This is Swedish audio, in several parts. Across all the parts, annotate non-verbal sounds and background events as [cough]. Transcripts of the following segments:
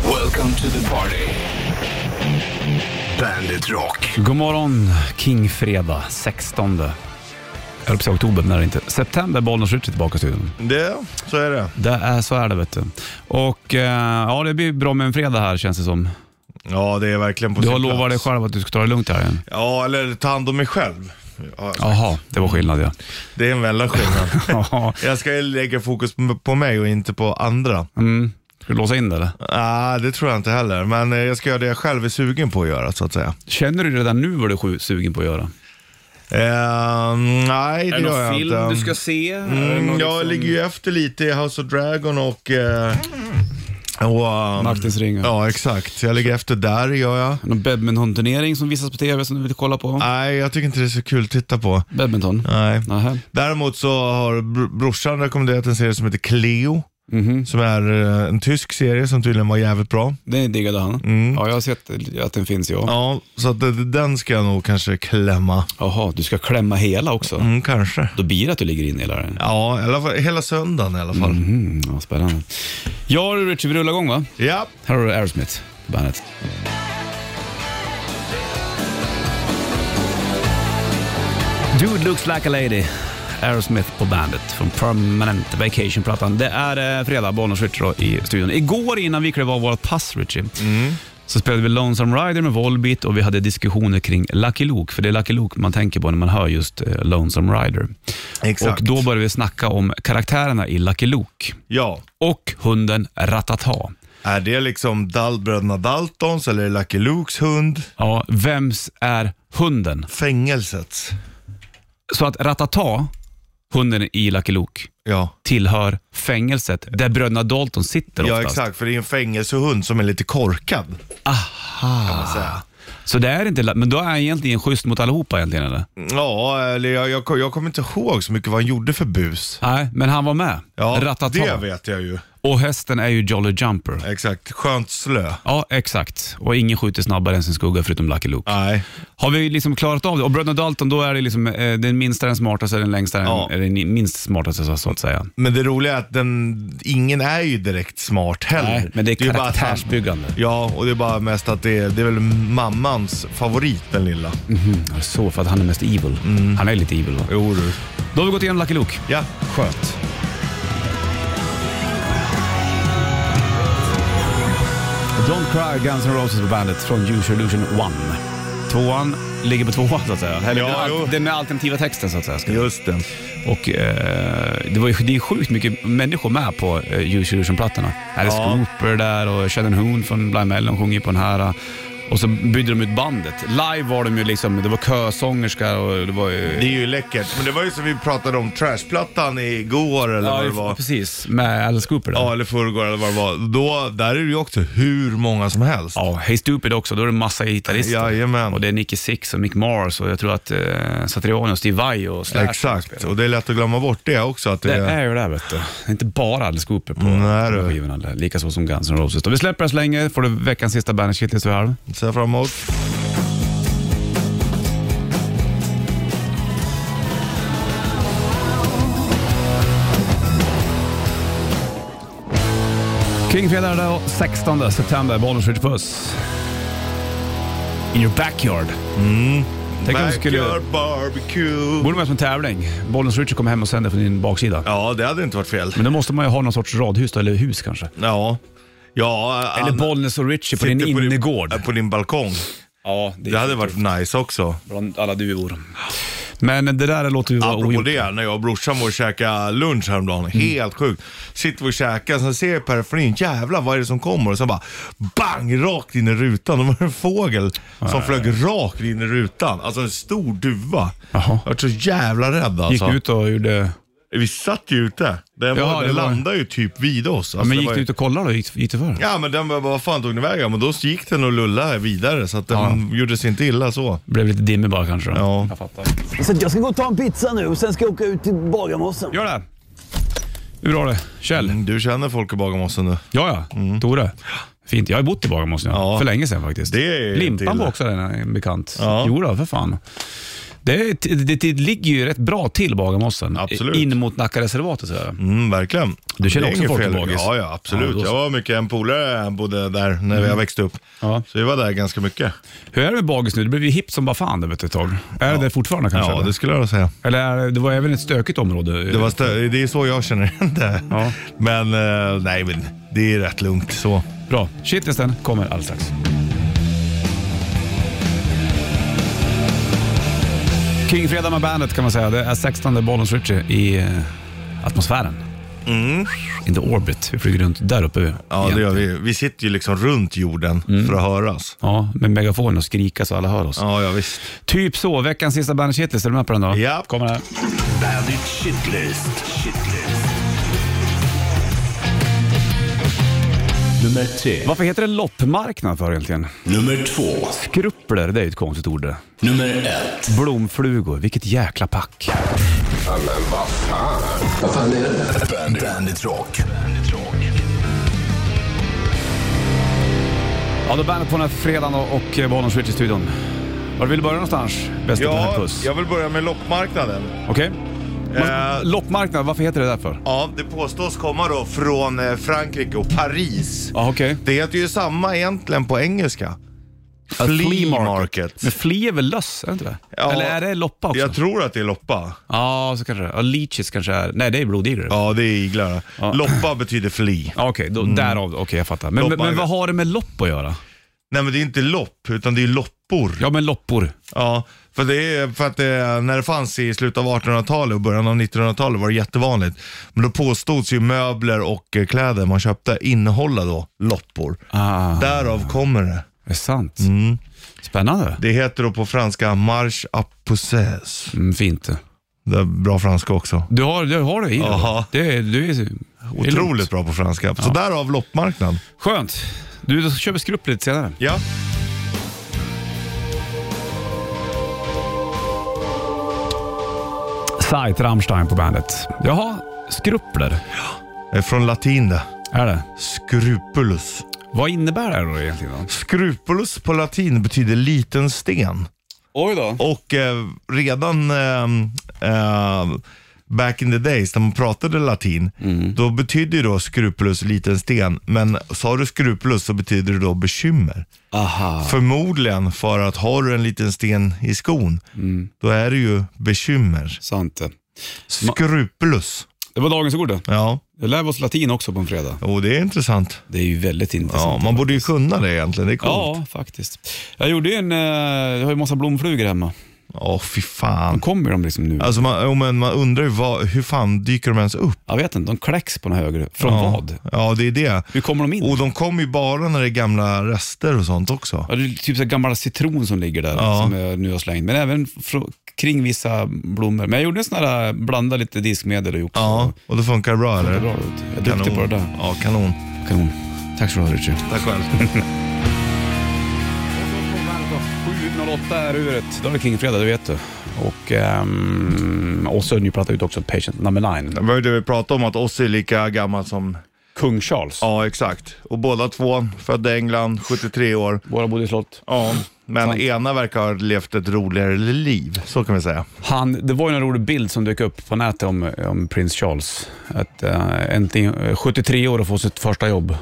Welcome to the party. Bandit Rock. God morgon, Kingfredag 16. Jag höll på att säga oktober, men det är det inte. September, Bollnäs Ritchie tillbaka i studion. Det, så är det. Det är, så är det vet du. Och eh, ja, det blir bra med en fredag här känns det som. Ja, det är verkligen på Du sin har lovat dig plats. själv att du ska ta det lugnt här igen. Ja, eller ta hand om mig själv. Ja, Jaha, det var skillnad [laughs] ja. det är en väldig skillnad. Jaha. Jag ska lägga fokus m- på mig och inte på andra. Mm. Ska du låsa in det eller? Ah, det tror jag inte heller, men eh, jag ska göra det jag själv är sugen på att göra så att säga. Känner du redan nu vad du är sju- sugen på att göra? Eh, nej, det, gör jag inte. se? Mm, liksom- jag ligger ju efter lite i House of Dragon och... Eh, och ehm, Maktens ringar. Ja, exakt. Jag ligger efter där, gör jag. Någon badmintonturnering som visas på TV som du vill kolla på? Nej, jag tycker inte det är så kul att titta på. Badminton? Nej. Nähä. Däremot så har br- brorsan rekommenderat en serie som heter Cleo, Mhm. som är eh, en tysk serie som tydligen var jävligt bra. Den diggade han. Mm. Ja, jag har sett att den finns ja. Ja, så att det- den ska jag nog kanske klämma. Jaha, du ska klämma hela också? Mm, kanske. Då blir det att du ligger in hela den. Ja, i alla fall, hela söndagen i alla fall. Mm, ja, spännande. Ja du Richie, vi rullar igång va? Ja, Här har du Aerosmith på bandet. Dude looks like a lady. Aerosmith på bandet från Permanent Vacation-plattan. Det är eh, fredag, Bonus Richie då i studion. Igår innan vi klev av vårt pass Richie, så spelade vi Lonesome Rider med Volbeat och vi hade diskussioner kring Lucky Luke, för det är Lucky Luke man tänker på när man hör just eh, Lonesome Rider. exakt. Och då började vi snacka om karaktärerna i Lucky Luke Ja. och hunden Ratata. Är det liksom Dal bröderna Daltons eller Lucky Lukes hund? Ja, vems är hunden? Fängelsets. Så att Ratata, hunden i Lucky Luke, Ja. tillhör fängelset där bröderna Dalton sitter ja, oftast. exakt. För det är en fängelsehund som är lite korkad. Aha. Så det är inte, la- men då är han egentligen schysst mot allihopa egentligen eller? Ja, eller jag, jag, kom- jag kommer inte ihåg så mycket vad han gjorde för bus. Nej, men han var med. Ja, Ratata. det vet jag ju. Och hästen är ju Jolly Jumper. Exakt. Skönt slö. Ja, exakt. Och ingen skjuter snabbare än sin skugga förutom Lucky Luke. Nej. Har vi liksom klarat av det? Och bröderna Dalton, då är det liksom, eh, den minsta, den smartaste, den längsta, den, Ja. är den ni- minst smartaste så- så att säga. Men det roliga är att den, ingen är ju direkt smart heller. Nej, men det är ju bara att han- Mm. karaktärsbyggande. Ja, och det är bara mest att det är, det är väl mammans favorit, den lilla. Ja, Så, för att han är mest evil. Mm. Han är lite evil va? Jo du. Då har vi gått igenom Lucky Luke. Ja, skönt. Don't Cry, Guns N' Roses på bandet från Use Your Illusion 1. Tvåan ligger på tvåan så att säga. Eller Ja, den, al- jo. den med alternativa texten så att säga. ska- Just det. Och eh, det, var ju, det är sjukt mycket människor med på eh, Use Your Illusion-plattorna. Alice Ja. Cooper där och Shannon Hoon från Blind Melon sjunger på den här. eh, Och så byggde de ut bandet. Live var de ju liksom, det var kösångerska och det var ju... Det är ju läckert. Men det var ju som vi pratade om, trashplattan igår eller vad det var. precis. Med Alice Cooper där. Ja, eller förrgår eller vad det var. Då, där är det ju också hur många som helst. Ja, Hey Stupid också. Då är det massa gitarrister. Jajamän. Och det är Nicky Six och Mick Mars och jag tror att eh, Satriani och Steve Vai och Slash. Exakt, och det är lätt att glömma bort det också. Att det, Det är ju det, vet du. Det är inte bara Alice Cooper på Nej, du. på skivorna. där. Likaså som Guns N' Roses. Då vi släpper det så länge. Får du veckans sista bandet Shitlist vid halv. Ser jag fram emot. Kingfredag är det och 16 september. Bollnäs Ritch Puss. In your backyard. Mm. Tänk om vi skulle... Backyard barbecue. Borde man som en tävling. Bollnäs Ritch kommer hem och sänder från din baksida. Ja, det hade inte varit fel. Men då måste man ju ha någon sorts radhus då, eller hus kanske. Ja. Ja, Eller Anna Bollnäs och Ritchie på din sitter innergård. På din, på din balkong. ja, Det hade varit nice också. bland alla duvor. Men det där låter ju vara Apropå ogjort. det, när jag och brorsan var och käkade lunch Mm. häromdagen. Helt sjukt. Sitter vi och käkar, sen ser jag i periferin, jävlar vad är det som kommer? Och sen bara bang, rakt in i rutan. Det var en fågel som flög rakt in i rutan. Alltså en stor duva. Jaha. Jag var så jävla rädd alltså. Gick ut och gjorde... Vi satt ju ute. Den, Jaha, var, den det var- landade ju typ vid oss. Alltså, Men det gick var du ju- ut och kollade då? Gick, gick du för? Ja men den bara, vad fan tog den vägen? Men då gick den och lullade vidare så att den gjorde sig inte illa så. Blev lite dimmig bara kanske då. Ja. Jag fattar. Så jag ska gå och ta en pizza nu och sen ska jag åka ut till Bagarmossen. Gör det! Hur har det? Kjell? Mm, Du känner folk i Bagarmossen nu? Ja, ja. Tore? Fint. Jag har ju bott i Bagarmossen ja. Mm. Ja. för länge sedan faktiskt. Det är Limpan till- var också en en bekant. Ja. Jo då, för fan. Det, det, det, det ligger ju rätt bra till Bagarmossen. Absolut. In mot Nackareservatet så här. Mm, verkligen. Du känner Det är också inget folk i fel. Bagis? Ja, ja, absolut. Ja, då så. Mm. jag var mycket en polare bodde där när jag växte upp. Ja. Så vi var där ganska mycket. Hur är det med Bagis nu? Det blev ju hippt som bara fan det vet du, ett tag. Är det det fortfarande kanske? Ja, eller? det skulle jag säga. Eller är, det- det var även ett stökigt område? Det, var stö- det är så jag känner det. Ja. Men eh, nej, men det är rätt lugnt så. Bra. Shitlisten kommer alldeles strax. Kingfredag med bandet kan man säga. Det är 16 Bollens Ritchie i eh, atmosfären. In the orbit. Vi flyger runt där uppe. Mm. Ja, igen. det gör vi. Vi sitter ju liksom runt jorden Mm. för att höras. Ja, med megafon och skrika så alla hör oss. Ja, ja visst. Typ så. Veckans sista bandet Shitlist. Är du med på den då? Ja. Kommer här. Bandit Shitlist. Shitlist. Nummer tre. Varför heter det loppmarknad för egentligen? Nummer två. Skrupler, det är ju ett konstigt ord det. Nummer ett. Blomflugor, vilket jäkla pack. Bandit, Bandit Rock. Ja, då bandet på den här fredagen och, och Bollens Ritchie i studion. Var vill du börja någonstans? Bästa ja, Ja, puss. jag vill börja med loppmarknaden. Okej. Eh, Loppmarknad, varför heter det därför? ja, det påstås komma då från eh, Frankrike och Paris. Ja, okej. Det heter ju samma egentligen på engelska. A flea market. market. Men flea är väl löss, är det inte det? Ja. Eller är det loppa också? Jag Ja, tror att det är loppa. så kanske det är. Ja, Leeches kanske är... Nej, det är blodiglar. Ja. Ja, det är iglar. Loppa betyder fli. Okej, då- därav. Okej, jag fattar. Men, men, men Loppmarknad. vad har det med lopp att göra? Nej, men det är inte lopp, utan det är loppor. Ja, men loppor. Ja, för, det är, för att det, när det fanns i slutet av 1800-talet och början av 1900-talet var det jättevanligt. Men då påstods ju möbler och eh, kläder man köpte innehålla då loppor. Ah, Därav kommer det. det är sant. Mm. Spännande. Det heter då på franska marche à possesse. Mm, fint. Det är bra franska också. Du har, du har det i dig. Jaha. Det, är- du är, det är lugnt. Otroligt bra på franska. Så därav loppmarknad. Skönt. Du köper skrupp lite senare. Ja. Sight, Rammstein på bandet. Jaha, skrupler. Eh, Från latin det. Är det? Scrupulus. Vad innebär det då egentligen? Då? Scrupulus på latin betyder liten sten. Oj då. Och eh, redan ehm, eh, back in the days när man pratade latin, Mm. då betydde ju då skrupulus liten sten. Men sa du skrupulus så betyder det då bekymmer. Aha. Förmodligen för att har du en liten sten i skon, Mm. då är det ju bekymmer. Sant det. Skrupulus. Det var dagens ord det. Ja, Jag lär oss latin också på en fredag. och det är intressant. Det är ju väldigt Ja, intressant. man borde ju kunna det egentligen. Det är coolt. Ja, faktiskt. Jag gjorde ju en, eh, jag har ju massa blomflugor hemma. Ja, fy fan. De kommer de liksom nu. Alltså man, jo, men man undrar ju vad, hur fan dyker de ens upp? Jag vet inte, de kläcks på något högre. Från ja. vad? Ja, det är det. Hur kommer de in? Och de kommer ju bara när det är gamla rester och sånt också. Ja, det är typ så här gammal citron som ligger där, Ja. som jag nu har slängt. Men även fr- kring vissa blommor. Men jag gjorde en sån här, eh, blanda lite diskmedel och ihop. Ja, och det funkar bra Det eller? ser bra ut. Jag är duktig på det där. Ja, kanon. Kanon. Tack så du ha Richard. [laughs] Tack själv. 7.08 är uret. Då är det Kingfredag, det vet du. Och, ehm, och så har ni pratat ut också Patient number 9. Vi började vi prata om att oss är lika gammal som... Kung Charles. Ja, exakt. Och båda två födda i England, 73 år. Våra bodde i slott. Ja, men Sant. ena verkar ha levt ett roligare liv, så kan vi säga. Han, det var ju en rolig bild som dök upp på nätet om, om prins Charles. Att, eh, äntligen, eh, 73 år och få sitt första jobb.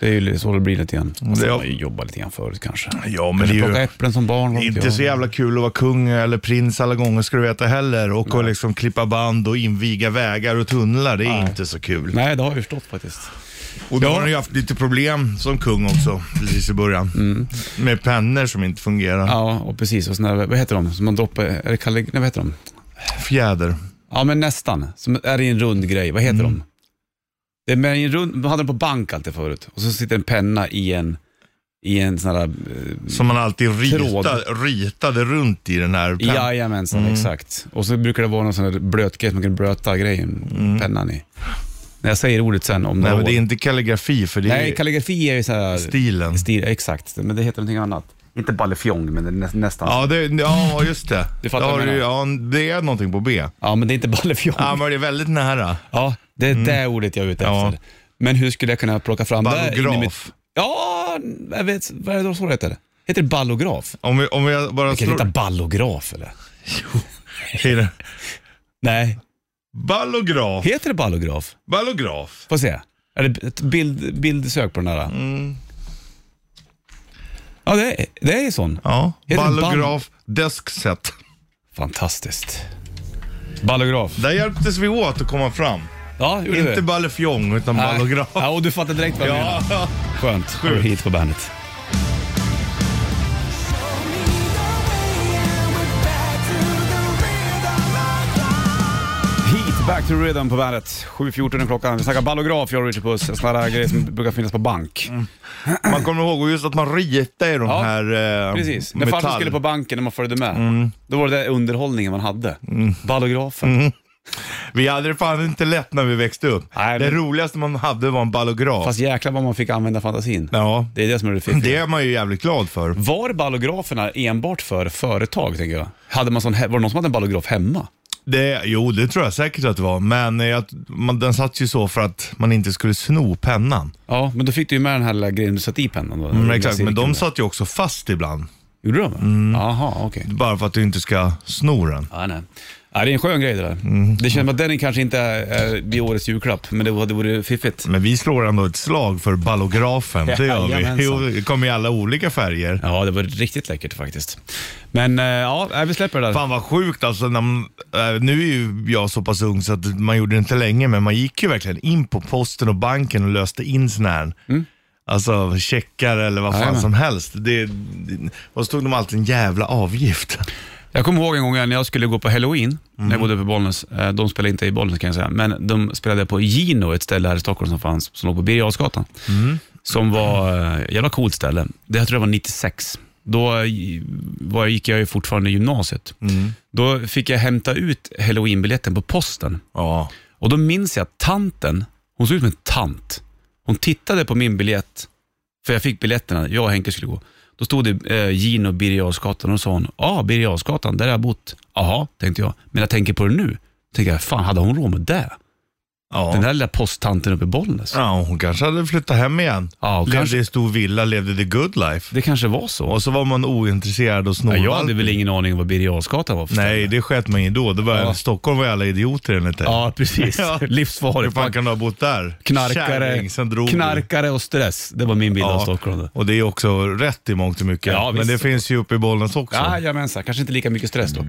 Det är ju li- så det blir lite grann. Alltså, Mm. Det- man har ju jobbat lite grann förut kanske. Ja, men Kanske det är ju- plocka äpplen som barn. vad vet Inte jag. så jävla kul att vara kung eller prins alla gånger ska du veta heller. Och att liksom klippa band och inviga vägar och tunnlar, det är inte så kul. Nej, det har jag ju förstått faktiskt. Och då Ja. har han ju haft lite problem som kung också, precis i början. Med pennor som inte fungerar. Mm. Ja, och precis. Och såna, där- vad heter de? Som man droppar... Är det kallig, nej, vad heter de? Fjäder. Ja, men nästan. Som är i en rund grej. Vad heter Mm. de? Det är med i en rund, man hade den på bank alltid förut. Och så sitter en penna i en, i en sån här... eh, Som man alltid rita, Tråd. ritade runt i den här pennan. Jajamensan, Mm. exakt. Och så brukar det vara någon sån där blöt grej som man kan blöta grejen, pennan i. När jag säger ordet sen om Nej, några Mm. men det är år. inte kalligrafi för det Nej, är kalligrafi är ju så här... stilen. Stil, exakt, men det heter någonting annat. Inte ballefjong, men det är nä, nästan. Ja. Ja, det, ja, just det. Du fattar Då vad har jag du, menar. ja, det är någonting på B. men det är inte ballefjong. Ja, Ja, men det är väldigt nära. det är det ordet jag är ute Ja. efter. Men hur skulle jag kunna plocka fram det? in i mitt- Ballograf. Ja, jag vet, vad är det då så det heter? Heter det ballograf? Om vi, om vi bara Jag kan slår... heta ballograf eller? I den- Nej. Ballograf. Heter det ballograf? Ballograf. Få se. Är det ett bild, bildsök på den där? Mm. Ja, det är, det är sån. Ja. Heter det Ballograf deskset. Fantastiskt. Ballograf. Där hjälptes vi åt att komma fram. Ja, gjorde Inte du? ballefjong, utan Nej. ballograf. Ja, och du fattar direkt vad jag menar. Ja. Skönt. Sjukt. Hit på bandet. Heat, Back to rhythm på bandet. 7.14 är klockan. Vi snackar ballograf, jag och Richard Puss. En sån här grej som brukar finnas på bank. Man kommer ihåg och just att man ritade i de Ja, här eh, Precis. När farsan metall... Mm. skulle på banken när man följde med, då var det där underhållningen man hade. Ballografen. Vi hade det fan inte lätt när vi växte upp. Nej, det men- roligaste man hade var en ballograf. Fast jäklar vad man fick använda fantasin. Ja, Det är det som är det fiffiga. det är man ju jävligt glad för. Var ballograferna enbart för företag, tänker jag? Hade man sån, he- var det någon som hade en ballograf hemma? Det, jo, det tror jag säkert att det var. Men eh, att man, den satt ju så för att man inte skulle sno pennan. Ja, men då fick du ju med den här lilla grejen du satte i pennan. Då, Men, Mm, exakt, men de sa... satt ju också fast ibland. Gjorde de? Mm. Aha, okej. Bara för att du inte ska sno den. Ja, nej. Ja, det är en skön grej det där. Mm. Det känns som att den kanske inte är, är blir årets julklapp, men det hade varit fiffigt. Men vi slår ändå ett slag för ballografen. Det gör Jajamensan. vi. Jo, det kommer i alla olika färger. Ja, det var riktigt läckert faktiskt. Men eh, ja, nej, vi släpper det där. Fan vad sjukt alltså. När man, eh, nu är ju jag så pass ung så att man gjorde det inte länge, men man gick ju verkligen in på posten och banken och löste in sån här. Alltså checkar eller vad fan Mm. Jajamän. som helst. Det, det, och så tog de alltid en jävla avgift. Jag kommer ihåg en gång när jag skulle gå på halloween, när jag bodde uppe i Bollnäs. Eh, De spelade inte i Bollnäs kan jag säga, men de spelade på Gino, ett ställe här i Stockholm som fanns, som låg på Birger Jarlsgatan. Som var eh, ett jävla coolt ställe. Det jag tror jag var 96. Då eh, var, gick jag ju fortfarande i gymnasiet. Då fick jag hämta ut halloweenbiljetten på posten. Ja. Och då minns jag att tanten, hon såg ut som en tant. Hon tittade på min biljett, för jag fick biljetterna, jag och Henke skulle gå. Då stod det eh, Gino Birger Jarlsgatan och då sa hon, ja ah, Birger Jarlsgatan, där har jag bott. Jaha, tänkte jag. Men jag tänker på det nu, tänker jag, fan hade hon råd med det? Ja. Den där lilla posttanten uppe i Bollnäs. ja, hon kanske hade flyttat hem igen. Ja, och levde kanske- i stor villa, levde the good life. Det kanske var så. Och så var man ointresserad och Ja, snorvalpig. jag hade väl ingen aning om vad Birger Jarlsgatan var för Nej, ställe. det sket man i då. Det var, Ja. Stockholm var ju alla idioter enligt dig. [laughs] Ja, precis. Ja. Hur Livsfarligt. fan kan du ha bott där? Knarkare, Kärring, sen drog du. knarkare och stress. Det var min bild av Stockholm. Då. Och det är också rätt i mångt och mycket. Ja, Men visst. det finns ju uppe i Bollnäs också. Jajamensan, kanske inte lika mycket stress dock.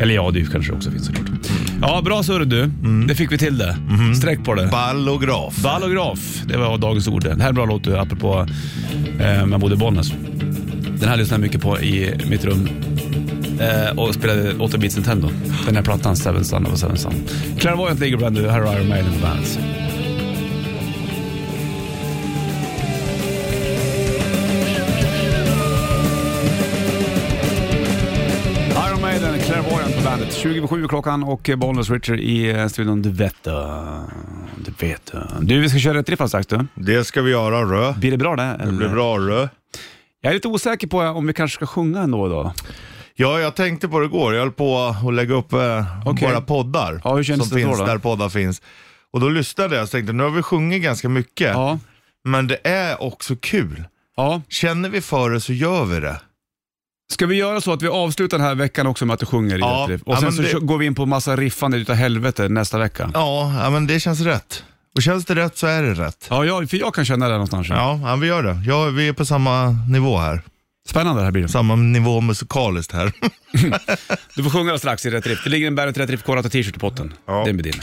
Eller ja, det kanske också finns såklart. Mm. Mm-hmm. Ja, bra surr du. Det fick vi till det. Sträck på det. Ballograf. Ballograf, det var dagens ord. Det här är en bra låt du, apropå eh, när jag bodde i Bollnäs. Den här lyssnade jag mycket på i mitt rum eh, och spelade 8-bits Nintendo. Den här plattan, Seven Sun och Seven Sun. Clairvoyant ligger bland nu, här är Iron Maiden på bandet. Iron Maiden, Clairvoyant på bandet. 27 klockan och Bollnäs Richard i eh, studion. Du vet du. Du vet du. Du, vi ska köra ett riff alldeles strax du. Det ska vi göra rö. Blir det bra det? Det blir bra rö. Jag är lite osäker på om vi kanske ska sjunga ändå idag. Ja, jag tänkte på det igår. Jag höll på att lägga upp eh, Okej. våra poddar. Ja, hur kändes som det då, finns då? där poddar finns. Och då lyssnade jag och tänkte, nu har vi sjungit ganska mycket. Ja. Men det är också kul. ja. Känner vi för det så gör vi det. Ska vi göra så att vi avslutar den här veckan också med att du sjunger Ja. i ett riff? Ja, Och sen men så det- kö- går vi in på massa riffande utav helvete nästa vecka. Ja, ja, men det känns rätt. Och känns det rätt så är det rätt. Ja, jag, för jag kan känna det någonstans. Ja, ja vi gör det. Ja, vi är på samma nivå här. Spännande det här blir det. Samma nivå musikaliskt här. Du får sjunga strax i Rätt Riff. Det ligger en Bandet Rätt Riff Korata t-shirt i potten. Ja. Den blir din.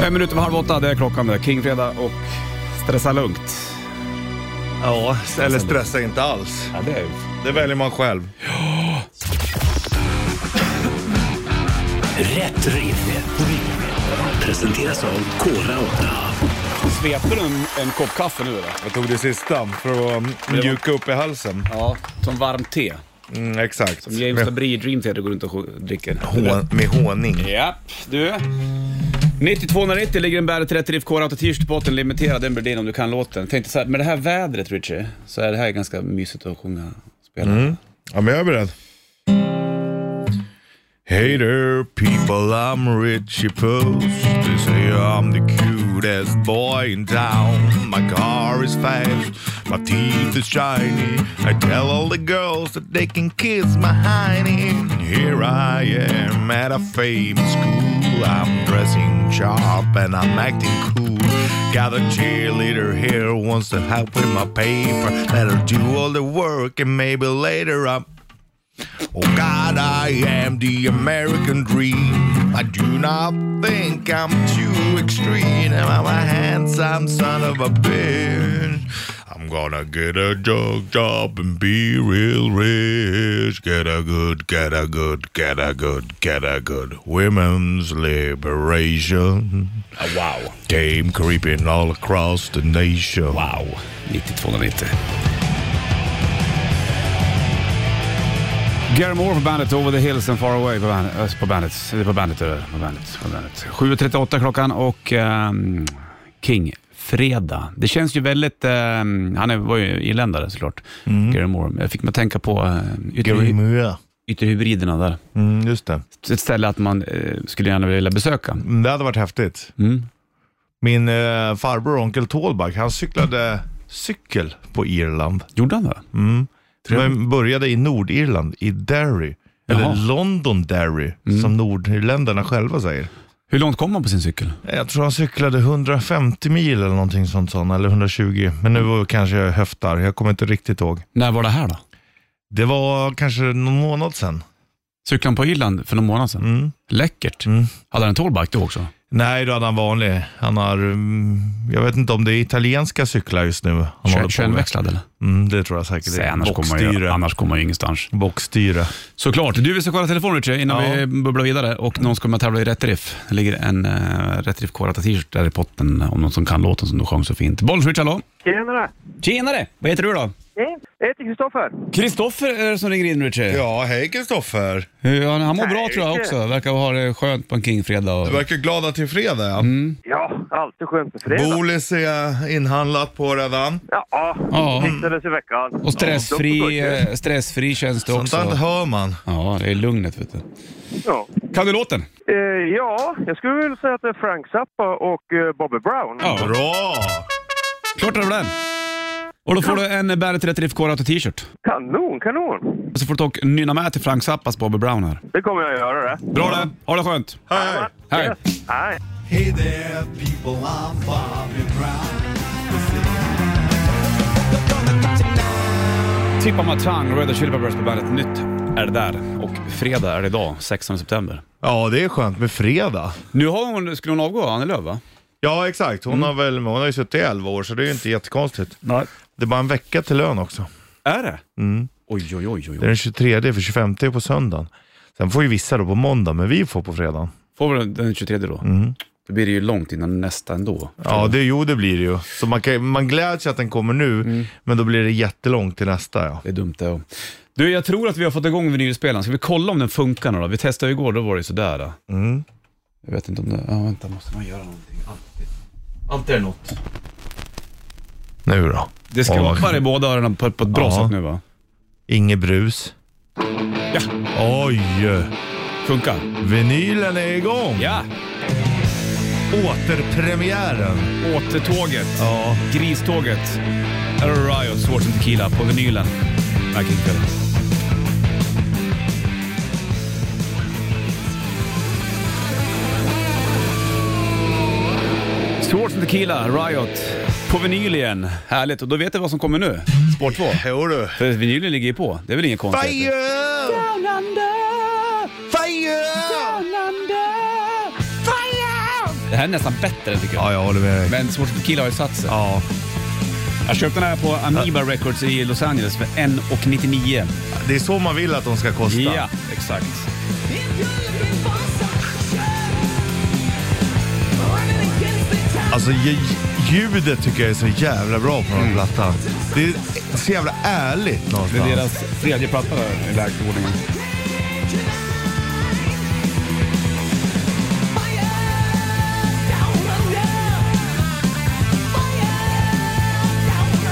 Fem minuter över halv åtta, det är klockan det. Kingfredag och stressa lugnt. [laughs] Ja, eller stressa inte alls. Ja, det är ju... Det väljer man själv. Rätt riff. Presenteras av Kora 8. Svepte du en, en kopp kaffe nu eller? Jag tog det sista för att mjuka upp i halsen. Ja, som varmt te. Mm, exakt. Som James Labrie Dream Theater går runt och sj- dricker. Hon, med honung. Japp, du. 9290 ligger en Bandet 30 IFK Rauta T-shirt i botten, limiterad. Den blir din om du kan låten. Tänkte så här, med det här vädret Richie, så är det här ganska mysigt att sjunga och spela. Ja, men jag är beredd. Hey there people, I'm Richie Post. They say I'm the cutest boy in town. My car is fast, my teeth are shiny. I tell all the girls that they can kiss my hiney. Here I am at a famous school. I'm dressing sharp and I'm acting cool. Got a cheerleader here, wants to help with my paper. Let her do all the work and maybe later I'm Oh God, I am the American dream. I do not think I'm too extreme. And I'm a handsome son of a bitch. I'm gonna get a jug job and be real rich. Get a good, get a good, get a good, get a good women's liberation. Ah, Wow. Came creeping all across the nation. Wow. 9290. Gary Moore på bandet, Over the Hills and Far Away på bandet. eh, På bandet, eller på bandet, är det, på bandet, på bandet. 7.38 klockan och ehm, King. Fredag. Det känns ju väldigt... ehm, han är, var ju irländare såklart, Gary Moore. Jag fick mig att tänka på eh, ytterhy- Grymöa. ytterhybriderna där. Mm, just det. Ett ställe att man eh, skulle gärna vilja besöka. Mm, Det hade varit häftigt. Mm. Min eh, farbror onkel Tålback, han cyklade cykel på Irland. Gjorde han det? Men började i Nordirland, i Derry. Jaha. Mm. Eller Londonderry, som nordirländarna själva säger. Hur långt kom han på sin cykel? Jag tror han cyklade 150 mil eller någonting sånt, sånt eller 120. Men nu var kanske jag höftar, jag kommer inte riktigt ihåg. När var det här då? Det var kanske någon månad sedan. Cyklade han på Irland för någon månad sedan? Mm. Läckert. Mm. Hade han en tallback då också? Nej, då hade han vanlig. Han har, mm, jag vet inte om det är italienska cyklar just nu. Han håller på med. Kölnväxlad eller? Mm, det tror jag säkert. Säg, annars kommer man ju, Bockstyre. annars kommer man ju ingenstans. Bockstyre. Såklart. Du, vi ska kolla telefonen Richie, innan Ja. vi bubblar vidare. Och någon ska med och tävla i Rätt Riff. Det ligger en uh, Rätt Riff Korata t-shirt där i potten om någon som kan låten som du sjöng så fint. Bollswitch, hallå? Tjenare! Tjenare! Vad heter du då? Hej. Jag heter Kristoffer. Kristoffer är det som ringer in Richie. Ja, hej Kristoffer. Ja, han mår Nej, bra tror jag Richie. också. Verkar ha det skönt på en kingfredag. Och... Du verkar glad att det är fredag. ja. Ja, alltid skönt med fredag. Bolis är inhandlat på redan. Ja, Ja. fixades i veckan. Och stressfri, Ja, eh, stressfri känns det Sånt där också. hör man. Ja, det är lugnet vet du. eh, Ja. Kan du låten? Eh, ja, jag skulle vilja säga att det är Frank Zappa och eh, Bobby Brown. Ja, Bra! klart är det den. Och då får du en Bandet Rätt Riff Korata t-shirt. Kanon, kanon! Och så får du dock nynna med till Frank Zappas Bobby Brown här. Det kommer jag att göra det. Bra det! Ha det skönt! Hej! Hej! Nej. Hey there, people, I'm Bobby Brown. Tip of my tongue, Red Hot Chili Peppers på bandet. Nytt är det där. Och fredag är det idag, 16 september. Ja, det är skönt med fredag. Nu har hon, skulle hon avgå, Annie Lööf va? Ja, exakt. Hon, har väl, hon har ju suttit i 11 år, så det är ju inte jättekonstigt. Nej. Det är bara en vecka till lön också. Är det? Mm. Oj, oj, oj, oj. Det är oj. den 23, för 25 är på söndagen. Sen får ju vissa då på måndag, men vi får på fredag. Får vi den- den 23 då? Då blir det ju långt innan nästa ändå. Ja, det, jo det blir det ju. Så man, kan, man gläds ju att den kommer nu, men då blir det jättelångt till nästa. Ja. Det är dumt det. Du, jag tror att vi har fått igång vinylspelaren. Ska vi kolla om den funkar nu då? Vi testade ju igår, då var det ju sådär. Då. Jag vet inte om det... Ja, vänta, måste man göra någonting? Alltid. Alltid är det något. Nu då? Det Ja, vad- skrumpar i båda öronen på, på ett bra Ja. sätt nu va? Inget brus. Ja, Oj! funkar. Vinylen är igång! Ja, Återpremiären. återtåget. Ja. Griståget. Här har du Riot, Swords and Tequila på vinylen. Back in kväll. Swords and Tequila, Riot, på vinyl igen. Härligt, och då vet du vad som kommer nu. Spår 2. Jo du. För vinylen ligger ju på. Det är väl inget konstigt. Fire! Fire! Det här är nästan bättre tycker jag. Ja, jag håller med dig. Men Swords and Tequila har ju satt sig. Ja, Jag köpte den här på Amoeba Records i Los Angeles för 1,99. det är så man vill att de ska kosta. Ja, exakt. Alltså lj- ljudet tycker jag är så jävla bra på den här plattan. Det är så jävla ärligt Mm. Det är någonstans. deras tredje platta där, i lägstordningen. Yeah.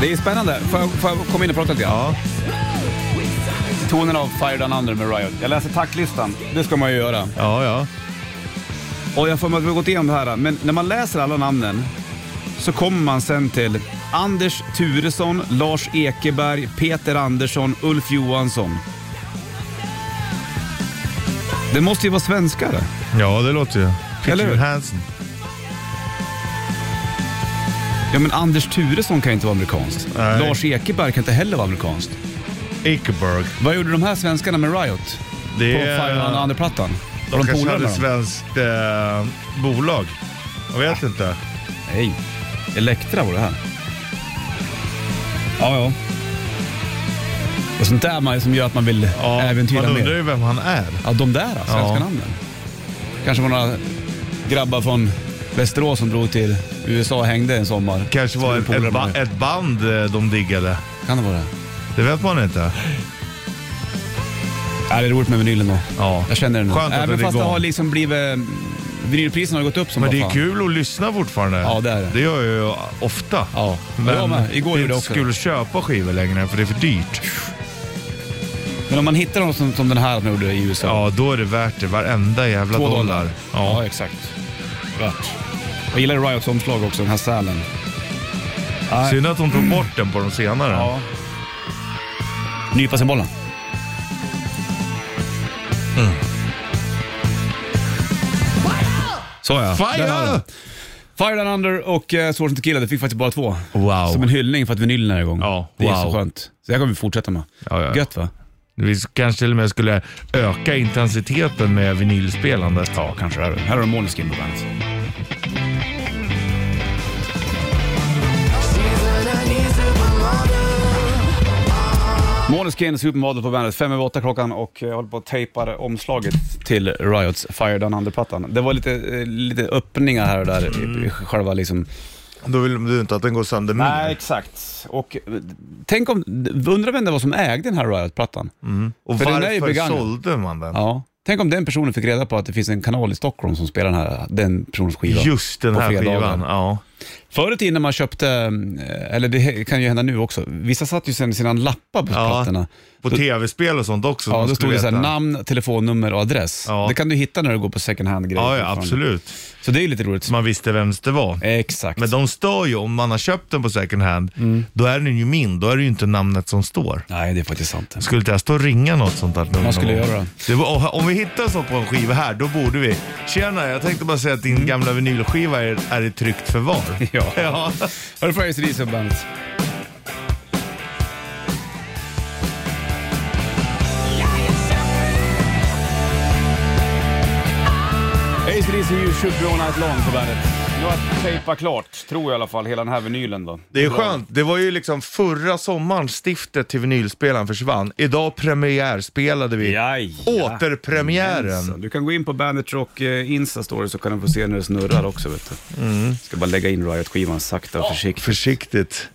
Det är spännande. Får jag, får jag komma in och prata lite grann? Ja. Tonen av Fire Down Under med Riot. Jag läser tacklistan. Det ska man ju göra. Ja, ja. Och jag får mig att vi har gått igenom det här, men när man läser alla namnen så kommer man sen till Anders Turesson, Lars Ekeberg, Peter Andersson, Ulf Johansson. Det måste ju vara svenskare. Ja, det låter ju. Eller hur? Peter Hansen. Ja, men Anders Turesson kan ju inte vara amerikanskt. Nej. Lars Ekeberg kan inte heller vara amerikanskt. Ekeberg. Vad gjorde de här svenskarna med Riot? Det På Fire är... Under-plattan? Var De de kanske polare hade med dem? svenskt eh, bolag. Jag vet inte. Nej. Elektra var det här. Ja, ja. Och sånt där man, som gör att man vill Ja, äventyra man undrar mer. ju vem han är. Ja, de där svenska Ja. namnen. Kanske var några grabbar från Västerås som drog till USA och hängde en sommar. Kanske var ett, Som polare ett, ba- med. ett band eh, de diggade. Kan det vara det? Det vet man inte. Ja, det är roligt med vinylen då. Ja. Jag känner det nu. Skönt att Även det är fast det igång. har liksom blivit... Vinylpriserna har gått upp som Men bara det är fan. kul att lyssna fortfarande. Ja, det är det. Det gör jag ju ofta. Ja. Men Jag med. Igår gjorde jag inte också skulle köpa skivor längre för det är för dyrt. Men om man hittar något som, som den här som gjorde i USA. Ja, då är det värt det. Varenda jävla Två dollar. dollar. Ja. exakt. Rätt. Jag gillar Riots omslag också, den här sälen. Synd att de tog bort den på de senare. Nypa sig Mm. bollen. Så ja. Där har vi Fire! den. Fire Down Under och uh, Swords and Tequila, det fick faktiskt bara två. Wow. Som en hyllning för att vinylen är igång. Ja, det är så wow. skönt. Så det här kommer vi fortsätta med. Ja, ja. Gött va? Vi kanske till och med skulle öka intensiteten med vinylspelandet. Ja, Kanske det är det. Här har du Måneskin på bandet. Måneskin, Supermodel på bandet. Fem över åtta klockan och jag håller på att tejpa omslaget till Riots Fire Down Under-plattan. Det var lite, eh, lite öppningar här och där i- Mm. i själva liksom... Då vill du inte att den går sönder mer. Nej, exakt. Och eh, tänk om... Undrar vem det var som ägde den här Riot-plattan? Och För den är ju varför begagnad. sålde man den? Ja. Tänk om den personen fick reda på att det finns en kanal i Stockholm som spelar den, här, den personens skiva. Just den på här fredagar. skivan. Ja. Förr i tiden när man köpte, eh, eller det kan ju hända nu också, vissa satt ju sen sina lappar på Ja. plattorna. På Då- tv-spel och sånt också. Ja, man då stod skulle det så här, veta. namn, telefonnummer och adress. Ja. Det kan du hitta när du går på second hand-grejer. Ja, ja, fortfarande. absolut. Så det är ju lite roligt. Så man visste vems det var. Exakt. Men de stör ju, om man har köpt den på second hand, Mm. då är den ju min. Då är det ju inte namnet som står. Nej, det är faktiskt sant. [laughs] Skulle inte jag stå och ringa något sånt här? Man skulle göra det. det. var- Om vi hittar så på en skiva här, då borde vi. Tjena, jag tänkte bara säga att Mm. din gamla vinylskiva är, är i tryggt förvar. [laughs] Ja. ja. Hörru på ACDC på bandet. ACDC You should be all night long på bandet. Nu har jag tejpat klart, tror jag i alla fall, hela den här vinylen då. Det är Bra. skönt. Det var ju liksom förra sommaren stiftet till vinylspelaren försvann. Idag premiärspelade vi. Jaj, Återpremiären. Jajamensan. Du kan gå in på Bandit Rock eh, Insta-story så kan du få se när det snurrar också. Vet du. Mm. Ska bara lägga in Riot-skivan sakta och försiktigt. Försiktigt.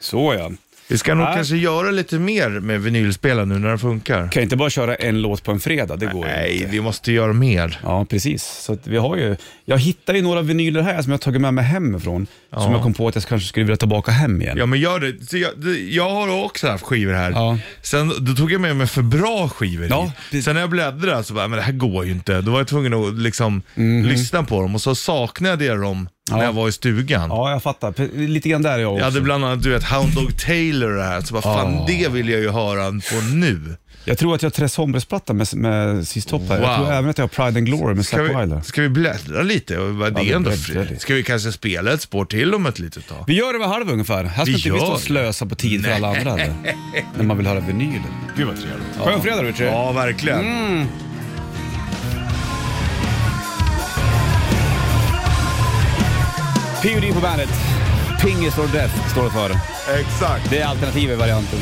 Så ja. Vi ska nog Nej. kanske göra lite mer med vinylspelaren nu när den funkar. Kan inte bara köra en låt på en fredag, det går ju inte. Nej, vi måste göra mer. Ja, precis. Så att vi har ju, jag hittar ju några vinyler här som jag har tagit med mig hemifrån, som jag kom på att jag kanske skulle vilja ta tillbaka hem igen. Ja men gör det. Så Jag, det- jag har också haft skivor här. Ja. Sen då tog jag med mig för bra skivor Ja, hit. precis. Sen när jag bläddrade så bara, men det här går ju inte. Då var jag tvungen att liksom Mhm. lyssna på dem och så saknade jag dem när jag var i stugan. Ja, jag fattar. Pre- Lite grann där är jag också. Jag hade bland annat du vet, Hound Dog Taylor och det här, så bara, fan Ah. det vill jag ju höra på nu. Jag tror att jag har Tres Hombres-plattan med, med Sis Topp här. Jag Wow. tror även att jag har Pride and Glory med Ska Zack Wilder. vi, ska vi bläddra lite? Och bara, det vi är ändå bläddrar fri. lite. Ska vi kanske spela ett spår till om ett litet tag? Vi gör det vid halv ungefär. Här ska Vi inte vi stå gör och det. slösa på tid för alla andra eller? När man vill höra vinylen. Gud vad trevligt. Skön fredag Mm. Richard. Ja, verkligen. PUD på bandet. Pingis or Death står det för. Exakt, Det är alternativa varianten.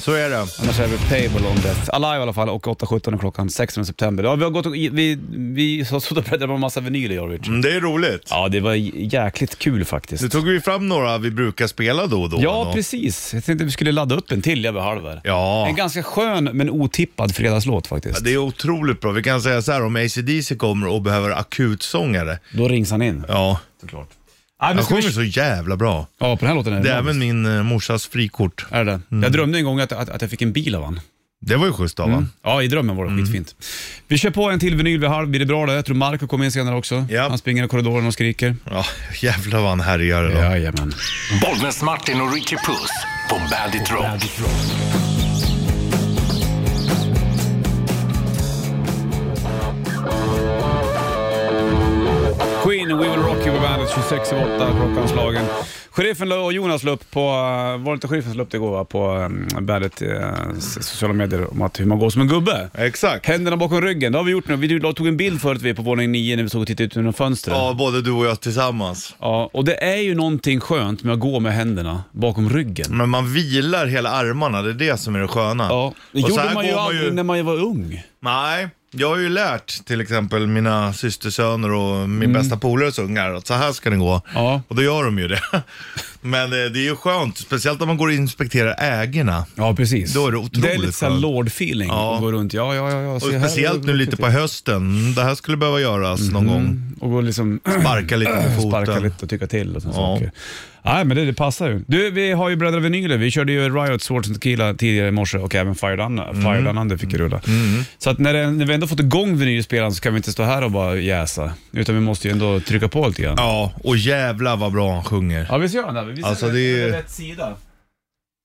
så är det. Annars är det Table on Death. Alive i alla fall och 8.17 är klockan 16 september. Ja, vi har gått och, vi, vi har suttit och bläddrat på en massa vinyler jag och Richard. Mm, Det är roligt. Ja, det var jäkligt kul Nu faktiskt. tog vi fram några vi brukar spela då och då. Ja, då. precis. Jag tänkte vi skulle ladda upp en till över halv här. Ja. En ganska skön men otippad fredagslåt faktiskt. Ja, Det är otroligt bra. Vi kan säga så här, om ACDC kommer och behöver akutsångare, Då rings han in. ja, Såklart. Ja, nu Han ska vi- sjunger så jävla bra. Ja, på den här låten är Det är magisk. även Mm. min eh, morsas frikort. Är det det? Jag drömde en gång att, att, att jag fick en bil av han. Det var ju schysst av honom. Ja, i drömmen var det Mm. skitfint. Vi kör på en till vinyl vid halv, blir det bra det? Jag tror Marco kommer in senare också. Ja. Han springer i korridoren och skriker. Ja, jävlar vad han härjar idag. Jajamän. Bollnäs Martin och Richie Puss på Bandit Rock. Queen, We Will Rock You på bandet, 26 över 8 klockanslagen. Sheriffen och Jonas la upp på, eh, var det inte sheriffen som la upp det igår va? På eh, bandet eh, s- sociala medier om att hur man går som en gubbe. Exakt. Händerna bakom ryggen, det har vi gjort nu. Vi tog en bild förut vi på våning 9 när vi såg och tittade ut genom fönstret. Ja, både du och jag tillsammans. Ja, och det är ju någonting skönt med att gå med händerna bakom ryggen. Men man vilar hela armarna, det är det som är det sköna. Ja, det Och så gjorde här man ju går aldrig när man var ung. Nej, jag har ju lärt till exempel mina systersöner och min bästa polares ungar att så här ska det gå. Mm. Ja. Och då gör de ju det. [laughs] Men eh, det är ju skönt, speciellt om man går och inspekterar ägorna. Ja, precis. Då är det otroligt Det är lite såhär skönt. lord-feeling Ja. att gå runt. Ja, ja, ja. ja. Och se här har speciellt det nu vuxit lite på hösten, det här skulle behöva göras någon gång. Och gå liksom [clears throat] Sparka lite med foten. Mm. sparka lite och tycka till och såna Ja. saker. Nej, men det, det passar ju. Du, vi har ju Bröderna Vinyler. Vi körde ju Riot, Swords and Tequila tidigare i morse och även Fire Down, Mm. Fire Down Under fick ju rulla. Så att när, det, när vi ändå fått igång vinylspelaren så kan vi inte stå här och bara jäsa, utan vi måste ju ändå trycka på lite grann. Ja, Ja, och jävla vad bra han sjunger. visst gör han det? Visst Alltså, är det är- på rätt sida?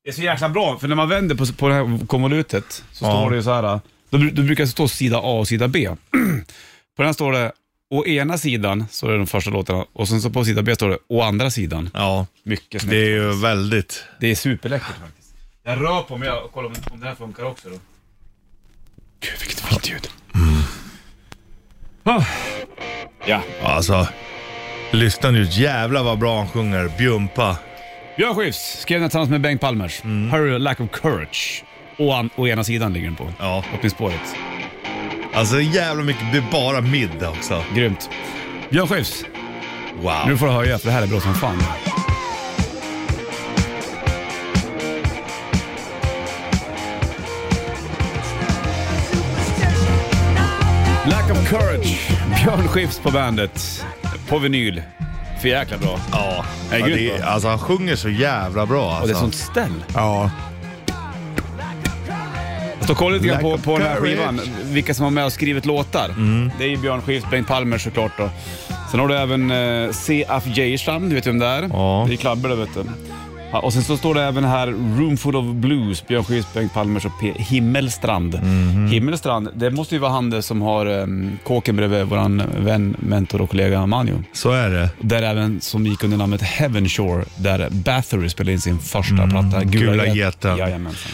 Det är så jäkla bra, för när man vänder på, på det här konvolutet så Ja. står det ju så här. Då, bru- då brukar det stå sida A och sida B. [clears throat] på den här står det Å ena sidan så är det de första låtarna och sen så på sida B står det Å andra sidan. Ja, Mycket snyggt. det är ju väldigt... Det är superläckert faktiskt. Jag rör på mig och kollar om, om det här funkar också då. Mm. Gud vilket fint ljud. Ah. Ja. Alltså, lyssna nu. Jävlar vad bra han sjunger. Bjumpa. Björn Skifs skrev den tillsammans med Bengt Palmers. Mm. Hurry, lack of courage. Å, an, å ena sidan ligger den på. Ja. Öppningsspåret. Alltså jävla mycket. Det är bara middag också. Grymt. Björn Skifs, Wow. nu får du höja för det här är bra som fan. Lack of courage. Björn Skifs på bandet. På vinyl. För jäkla bra. Ja, Det är ja grymt, det är, va? alltså han sjunger så jävla bra alltså. Och det är sånt ställ. Ja. Jag står och kollar lite grann på, Lack of på den här courage. skivan, vilka som var med och skrivit låtar. Mm. Det är ju Björn Skifs, Bengt Palmer såklart då. Sen har du även eh, C.F. Geirstam, du vet vem det är? Ja. Det är klabbe det vet du. Ja, och sen så står det även här Room Full of Blues, Björn Skifs, Bengt Palmers och P- Himmelstrand. Mhm. Himmelstrand, det måste ju vara han det som har um, kåken bredvid våran vän, mentor och kollega Manjo. Så är det. Där även som gick under namnet Heaven Shore, där Bathory spelade in sin första platta, Mm. Gula Get- Geten. Jajamensan.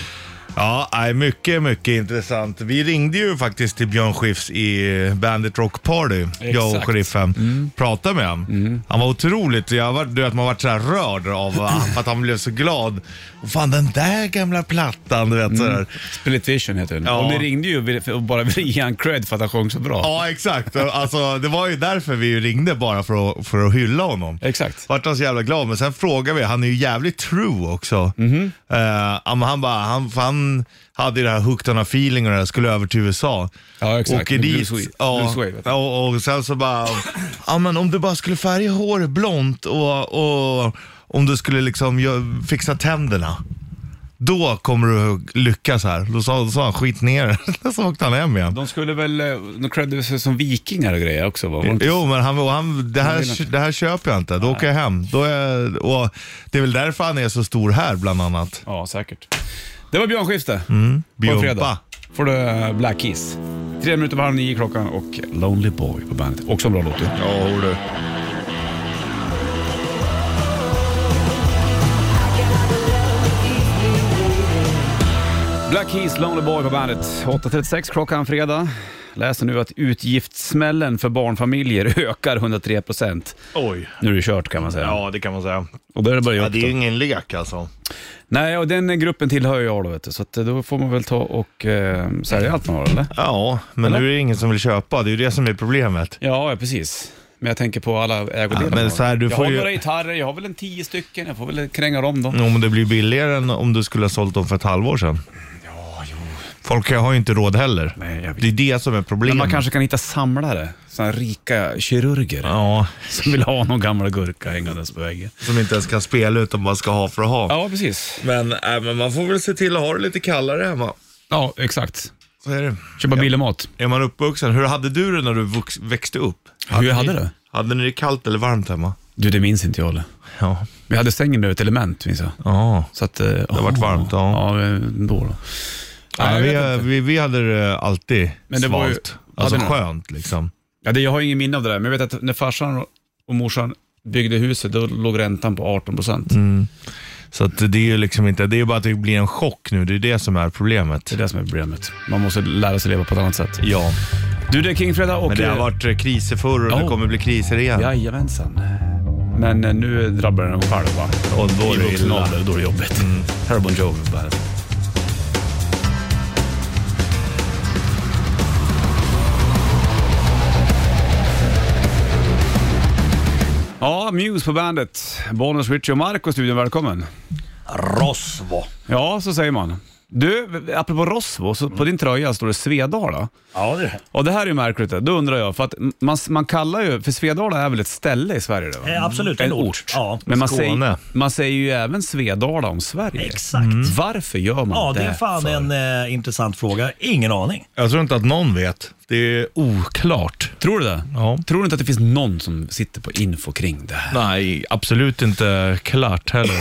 Ja, nej, mycket, mycket intressant. Vi ringde ju faktiskt till Björn Skifs i Bandit Rock Party, jag och Exakt. Mm. sheriffen. Pratade med honom. Han var otroligt, jag var, du vet man vart så här rörd av att han blev så glad. Och fan den där gamla plattan, du vet sådär. Mm. Split Vision heter den. Ja. Och ni ringde ju vill- för- och bara [laughs] ville ge han cred för att han sjöng så bra. Ja, exakt. Alltså, det var ju därför vi ringde bara för att, för att hylla honom. Exakt. Vart han så jävla glad. Men sen frågade vi, han är ju jävligt true också. Mhm. Mm-hmm. han bara, han, han hade ju det här hooked on a feeling och det här, skulle över till USA. Ja, exakt. Åker Blue dit. Sweet- ja, Blue Suede. och, och sen så bara, ja men om du bara skulle färga håret blont och, och om du skulle liksom gö- fixa tänderna. Då kommer du lyckas här. Då sa, sa han skit ner det. [laughs] Så åkte han hem igen. De skulle väl, eh, de credde sig som vikingar och grejer också va? Var det inte- Jo, men han, och han, det, vill inte. här, det här köper jag inte. Då åker jag hem. Då är, och det är väl därför han är så stor här bland annat. Ja, säkert. Det var Björn Skifs det. På en fredag. Bjumpa. Får du eh, Black Keys. Tre minuter över halv nio klockan och Lonely Boy på bandet. Också en bra låt du. Ja, du. Black Keys, Lonely Boy på bandet. 8.36 klockan fredag. Läser nu att utgiftssmällen för barnfamiljer [laughs] ökar 103 procent. Oj. Nu är det kört kan man säga. det kan man säga. Och då är det bara Ja, upp det är ju då. ingen lek alltså. Nej, och den gruppen tillhör jag då, vet du. så att eh, då får man väl ta och eh, sälja allt man har, eller? Ja, men Eller? nu är det ingen som vill köpa. Det är ju det som är problemet. Ja, ja, precis. Men jag tänker på alla ägodelar. Ja, men man har. så här, du jag får har ju- Mm. några gitarrer, jag har väl en tio stycken, jag får väl kränga dem då. Om det blir billigare än om du skulle ha sålt dem för ett halvår sedan. Folk har ju inte råd heller. Nej, jag vet. det är det som är Men problemet. man kanske kan hitta samlare, sådana rika kirurger Ja, [laughs] som vill ha någon gammal gurka hängandes på väggen. som inte ens kan spela utan bara ska ha för att ha. Ja, precis. Men, äh, men man får väl se till att ha det lite kallare hemma. Ja, exakt. Så är det. Köpa billig mat. Är man uppvuxen, hur hade du det när du vux- växte upp? Hur jag hade ni- det? Hade ni det kallt eller varmt hemma? Du, det minns inte jag. eller? Ja. Vi hade sängen över ett element, minns jag. Ja. Så att, det har varit varmt, ja. Ja, eh, då. då. Nej, jag vet vi, vi, vi hade det alltid Men det svalt. var ju- alltså hade ni- skönt liksom. Ja, det, jag har ingen minne av det där, men jag vet att när farsan och morsan byggde huset, då låg räntan på 18 procent. Så att det är ju liksom inte, det är ju bara att det blir en chock nu. Det är det som är problemet. Det är det som är problemet. Man måste lära sig leva på ett annat sätt. Ja, Du, det är Kingfredag och... men det har eh, varit eh, kriser förr och Ja. det kommer bli kriser igen. Jajamensan. Men eh, nu drabbar den själv va? Och då är I det vuxen illa. ålder, då är det jobbigt. Mm. Här är Bon Jovi på bandet. Ja, Muse på bandet. Bonus, Richie och Marco i studion. Välkommen. Mm. Rosvo. Ja, så säger man. Du, apropå Rosvo, så på din tröja står det Svedala. Ja, det. Och det här är ju märkligt. Då undrar jag, för att man, man kallar ju, för Svedala är väl ett ställe i Sverige? Det, va? Eh, absolut, en ort. Ja. Men man Skåne. säger, man säger ju även Svedala om Sverige. Exakt. Varför gör man Ja, det? det är fan för? en eh, intressant fråga. Ingen aning. Jag tror inte att någon vet. Det är oklart. Tror du det? Ja. Tror du inte att det finns någon som sitter på info kring det här? Nej, absolut inte klart heller.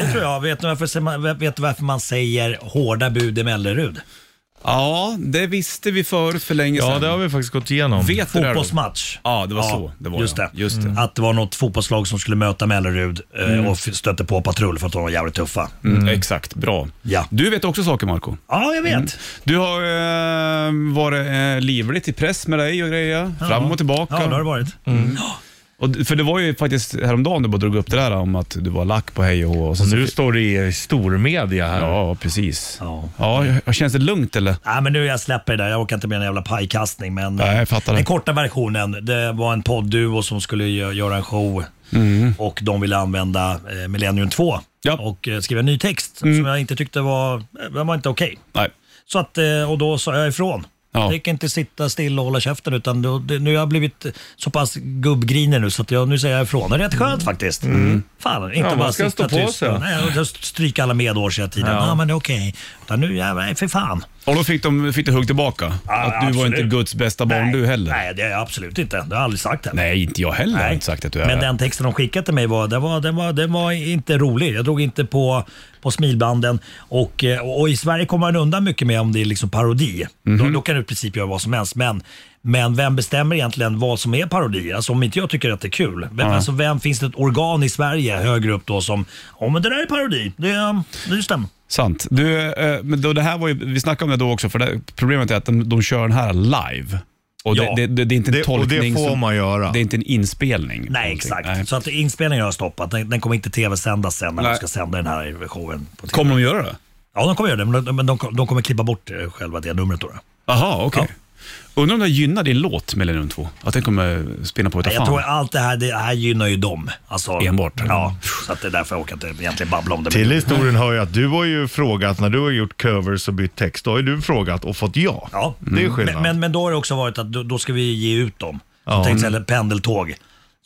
Det tror jag. Vet du varför, vet du varför man säger hårda bud i Mellerud? Ja, det visste vi förut för länge Ja, sedan. det har vi faktiskt gått igenom. Vet du det? då? Fotbollsmatch. Ja, det var så det var, just ja. det. Mm. Just det. Att det var något fotbollslag som skulle möta Mellerud eh, och f- stötte på patrull för att de var jävligt tuffa. Mm, exakt, bra. Ja. Du vet också saker, Marco. Ja, jag vet. Mm. Du har eh, varit eh, livligt i press med dig och grejer. Fram och tillbaka. Ja, det har det varit. Mm. Och, d- för det var ju faktiskt häromdagen du bara drog upp det där om att du var lack på hej och hå. Och sen så- Nu står det i stormedia här. Ja, precis. Ja. ja, känns det lugnt eller? Nej, men nu jag släpper det där. Jag orkar inte med en jävla pajkastning. Men Nej, jag fattar det. den korta versionen, det var en poddduo som skulle gö- göra en show och de ville använda eh, Millennium 2 Ja. och eh, skriva en ny text som jag inte tyckte var, eh, den var inte okej. Nej. Så att, eh, och då sa jag ifrån. Ja. Jag tänker inte sitta still och hålla käften utan då, det, nu har jag blivit så pass gubbgrinig nu så att jag, nu säger jag ifrån. Det är rätt skönt faktiskt. Fan, inte man bara ska sitta stå på tyst. sig. Nej, och just stryka alla medårs hela tiden. Ja, men det är okej. Utan nu, ja, nej, för fan. Och då fick, de, fick du hugg tillbaka? att du var absolut. inte Guds bästa barn nej, du heller? Nej, det är jag absolut inte. Det har jag aldrig sagt heller. Nej, inte jag heller. Jag har Nej. inte sagt att du är Men det. den texten de skickade till mig var, den var, den var, den var inte rolig. Jag drog inte på, på smilbanden. Och, eh, och i Sverige kommer man undan mycket med om det är liksom parodi. Mhm. Då, då kan du i princip göra vad som helst. Men, men vem bestämmer egentligen vad som är parodi? Alltså om inte jag tycker att det är kul. Vem, alltså, vem finns det ett organ i Sverige högre upp då som, ja men det där är parodi. Det, eh, det stämmer. Sant. Du, eh, men då, det här var ju, vi snackade om det då också, för det, problemet är att de, de kör den här live. Och Ja. det, det, det, det är inte en Det, och tolkning. det får som, man göra. Det är inte en inspelning. på Nej, någonting. exakt. Nej. Så att inspelningen har jag stoppat. Den, den kommer inte tv-sändas sen när Nej. de ska sända den här showen. På TV. Kommer de göra det? Ja, de kommer göra det, men de, men de, de kommer klippa bort eh, själva det numret då. då. Jaha, okej. Undrar om det gynnar din låt, Millennium 2? Att den kommer spinna på utav Nej, fan? jag tror allt det här, det här gynnar ju dem. Alltså, Enbart. Ja, så att det är därför jag orkar inte egentligen babbla om det. Till historien hör ju att du har ju frågat, när du har gjort covers och bytt text, då har ju du frågat och fått ja. Ja. Det är skillnad. Men, men, men då har det också varit att då, då ska vi ge ut dem. Så Ja. Mm. ja. tänkte jag, eller pendeltåg,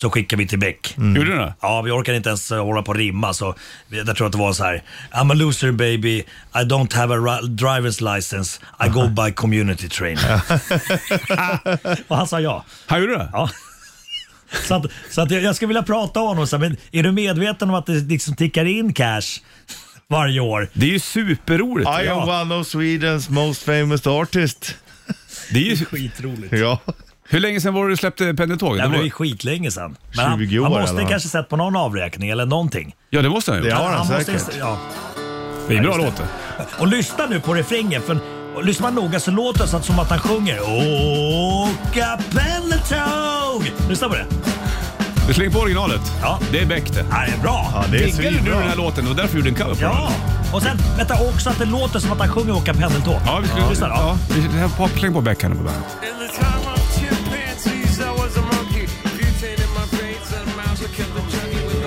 så skickar vi till Beck. Gjorde du det? Ja, vi orkar inte ens eh, hålla på och rimma så vi- jag tror att det var så här. I'm a loser baby, I don't have a ri- driver's license, I go by [laughs] community train. och han sa ja. Han gjorde det? Ja. Så, att, så att jag, jag skulle vilja prata om honom, så här, men är du medveten om att det liksom tickar in cash varje år? Det är ju superroligt. I am one of Swedens most famous artist. Det är ju, Skitroligt. Ja. hur länge sedan var det du släppte pendeltåg? Det Det blev var, ju skitlänge sedan. Men han, 20 år han eller måste något. kanske sett på någon avräkning eller någonting. ja, det måste han ju. Det har han måste- säkert. ja. Det är bra låt det. Och lyssna nu på refrängen. För, och lyssnar man noga så låter det så att- som att han sjunger Åka pendeltåg. Lyssna på det. Du slänger på originalet. Ja. Det är Beck det. Det här är bra. Ja, det är Diggade du den svinbra. här låten och därför gjorde en cover på Ja. den? Och sen, vänta också att det låter som att han sjunger Åka pendeltåg. Ja, vi skulle... Lyssna då. Ja. Vi skulle- här- Släng på Beck här nu på bandet. In the time of chimpanzees, I was a monkey. Butane in my brains and mouse, I kept the junkie with the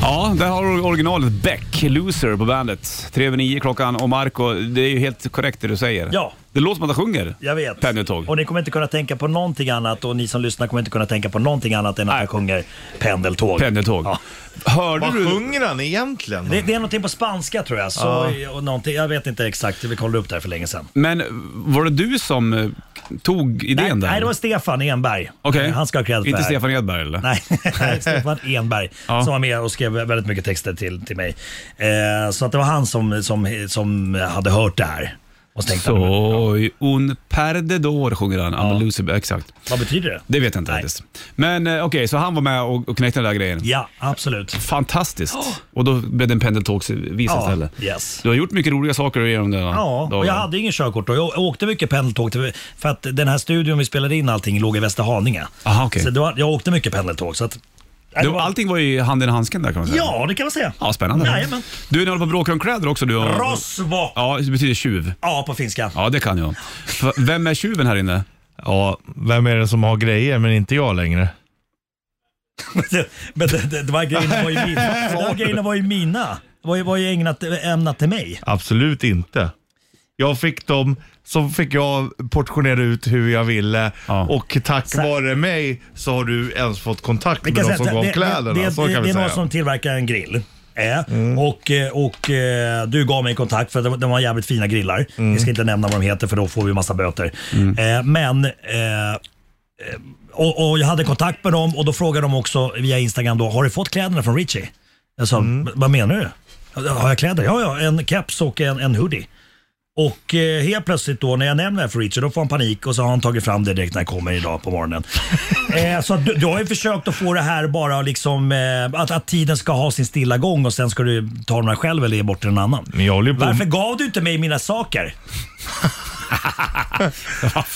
Ja, där har du originalet Beck, Loser på bandet. Tre över nio klockan och Marco, det är ju helt korrekt det du säger. Ja. Det låter som att han sjunger. Jag vet. Pendeltåg. Och ni kommer inte kunna tänka på någonting annat och ni som lyssnar kommer inte kunna tänka på någonting annat än att Nej. jag sjunger pendeltåg. Pendeltåg. Ja. Hörde Vad du? sjunger han egentligen? Det, det är någonting på spanska tror jag. Så, och någonting, jag vet inte exakt, vi kollade upp det här för länge sedan. Men var det du som eh, tog idén Nej, där? nej, det var Stefan Enberg. Okej. Han ska ha cred för det Inte här. Stefan Edberg eller? [laughs] Nej, [laughs] Stefan Enberg Ja. som var med och skrev väldigt mycket texter till, till mig. Eh, så att det var han som, som, som hade hört det här. Och så tänkte han, Soy un perdedor sjunger han. Ja. Loser, exakt. vad betyder det? Det vet jag inte Nej. faktiskt. Men eh, okej, så han var med och, och knäckte den där grejen. Ja, absolut. Fantastiskt. Och då blev det en pendeltågsvisa Ja, istället. yes. Du har gjort mycket roliga saker genom den här Ja, och jag dagen. hade ingen körkort och jag åkte mycket pendeltåg till, för att den här studion vi spelade in allting låg i Västerhaninge. Aha, Ah, okej. Så det var, jag åkte mycket pendeltåg. Så att, Nej, Det det var, var- allting var ju handen i handsken där kan man säga. ja, det kan man säga. Ja, spännande. Jajamän. Du, ni håller på att bråka om kläder också du och... Rosvo! Ja. Ja, det betyder tjuv. på finska. Ja, det kan jag. F- Vem är tjuven här inne? Ja, vem är det som har grejer men inte jag längre? [laughs] Men det, det, det var grejerna var ju [laughs] mina. Det var grejerna var ju mina. Det var ju, var ju ägnat, ämnat till mig. Absolut inte. Jag fick dem, så fick jag portionera ut hur jag ville Ja. och tack Så- vare mig så har du ens fått kontakt Vi med de kan som säga att gav det- kläderna. Det, det, så det, kan det vi är någon säga. Mm. som tillverkar en grill. eh, Och, eh, och eh, du gav mig kontakt för de, de var jävligt fina grillar. Mm. Jag ska inte nämna vad de heter för då får vi massa böter. Eh, men eh, eh, och, och jag hade kontakt med dem och då frågade de också via Instagram då, har du fått kläderna från Richie? Jag sa, Mm. "V- vad menar du? Har jag kläder? Ja, ja, en keps och en, en hoodie. Och eh, helt plötsligt då när jag nämner det här för Richard då får han panik och så har han tagit fram det direkt när jag kommer idag [laughs] på morgonen. eh, så att du, du har ju försökt att få det här bara liksom eh, att, att tiden ska ha sin stilla gång och sen ska du ta de här själv eller ge bort till någon annan. Men jag håller ju på- Varför gav du inte mig [laughs] mina saker?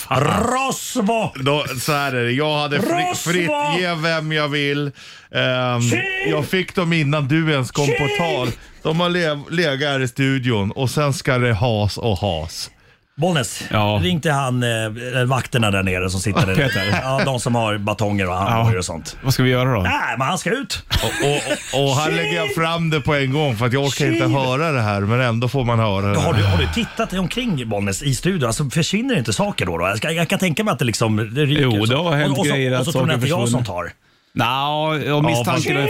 Rosvo! Då, så här är det, jag hade fri, Rosva! fritt ge vem jag vill. Ehm, Tji! jag fick dem innan du ens kom på Tji! tal. De har lev, legat här i studion och sen ska det has och has. Bollnäs, Ja. ring till han eh, vakterna där nere som sitter där. Ja, de som har batonger och handbojor och sånt. Vad ska vi göra då? Nej, men han ska ut. Och, och, och här Tji! lägger jag fram det på en gång för att jag orkar inte Tji! höra det här men ändå får man höra det. Har du, har du tittat omkring Bollnäs i studion? Alltså, försvinner inte saker då? då? Jag, ska, jag kan tänka mig att det liksom det ryker. Jo, och så- det har hänt och, och så, grejer Och att så tror ni saker att det är jag som försvunnit. tar. Nja, ja, misstankarna,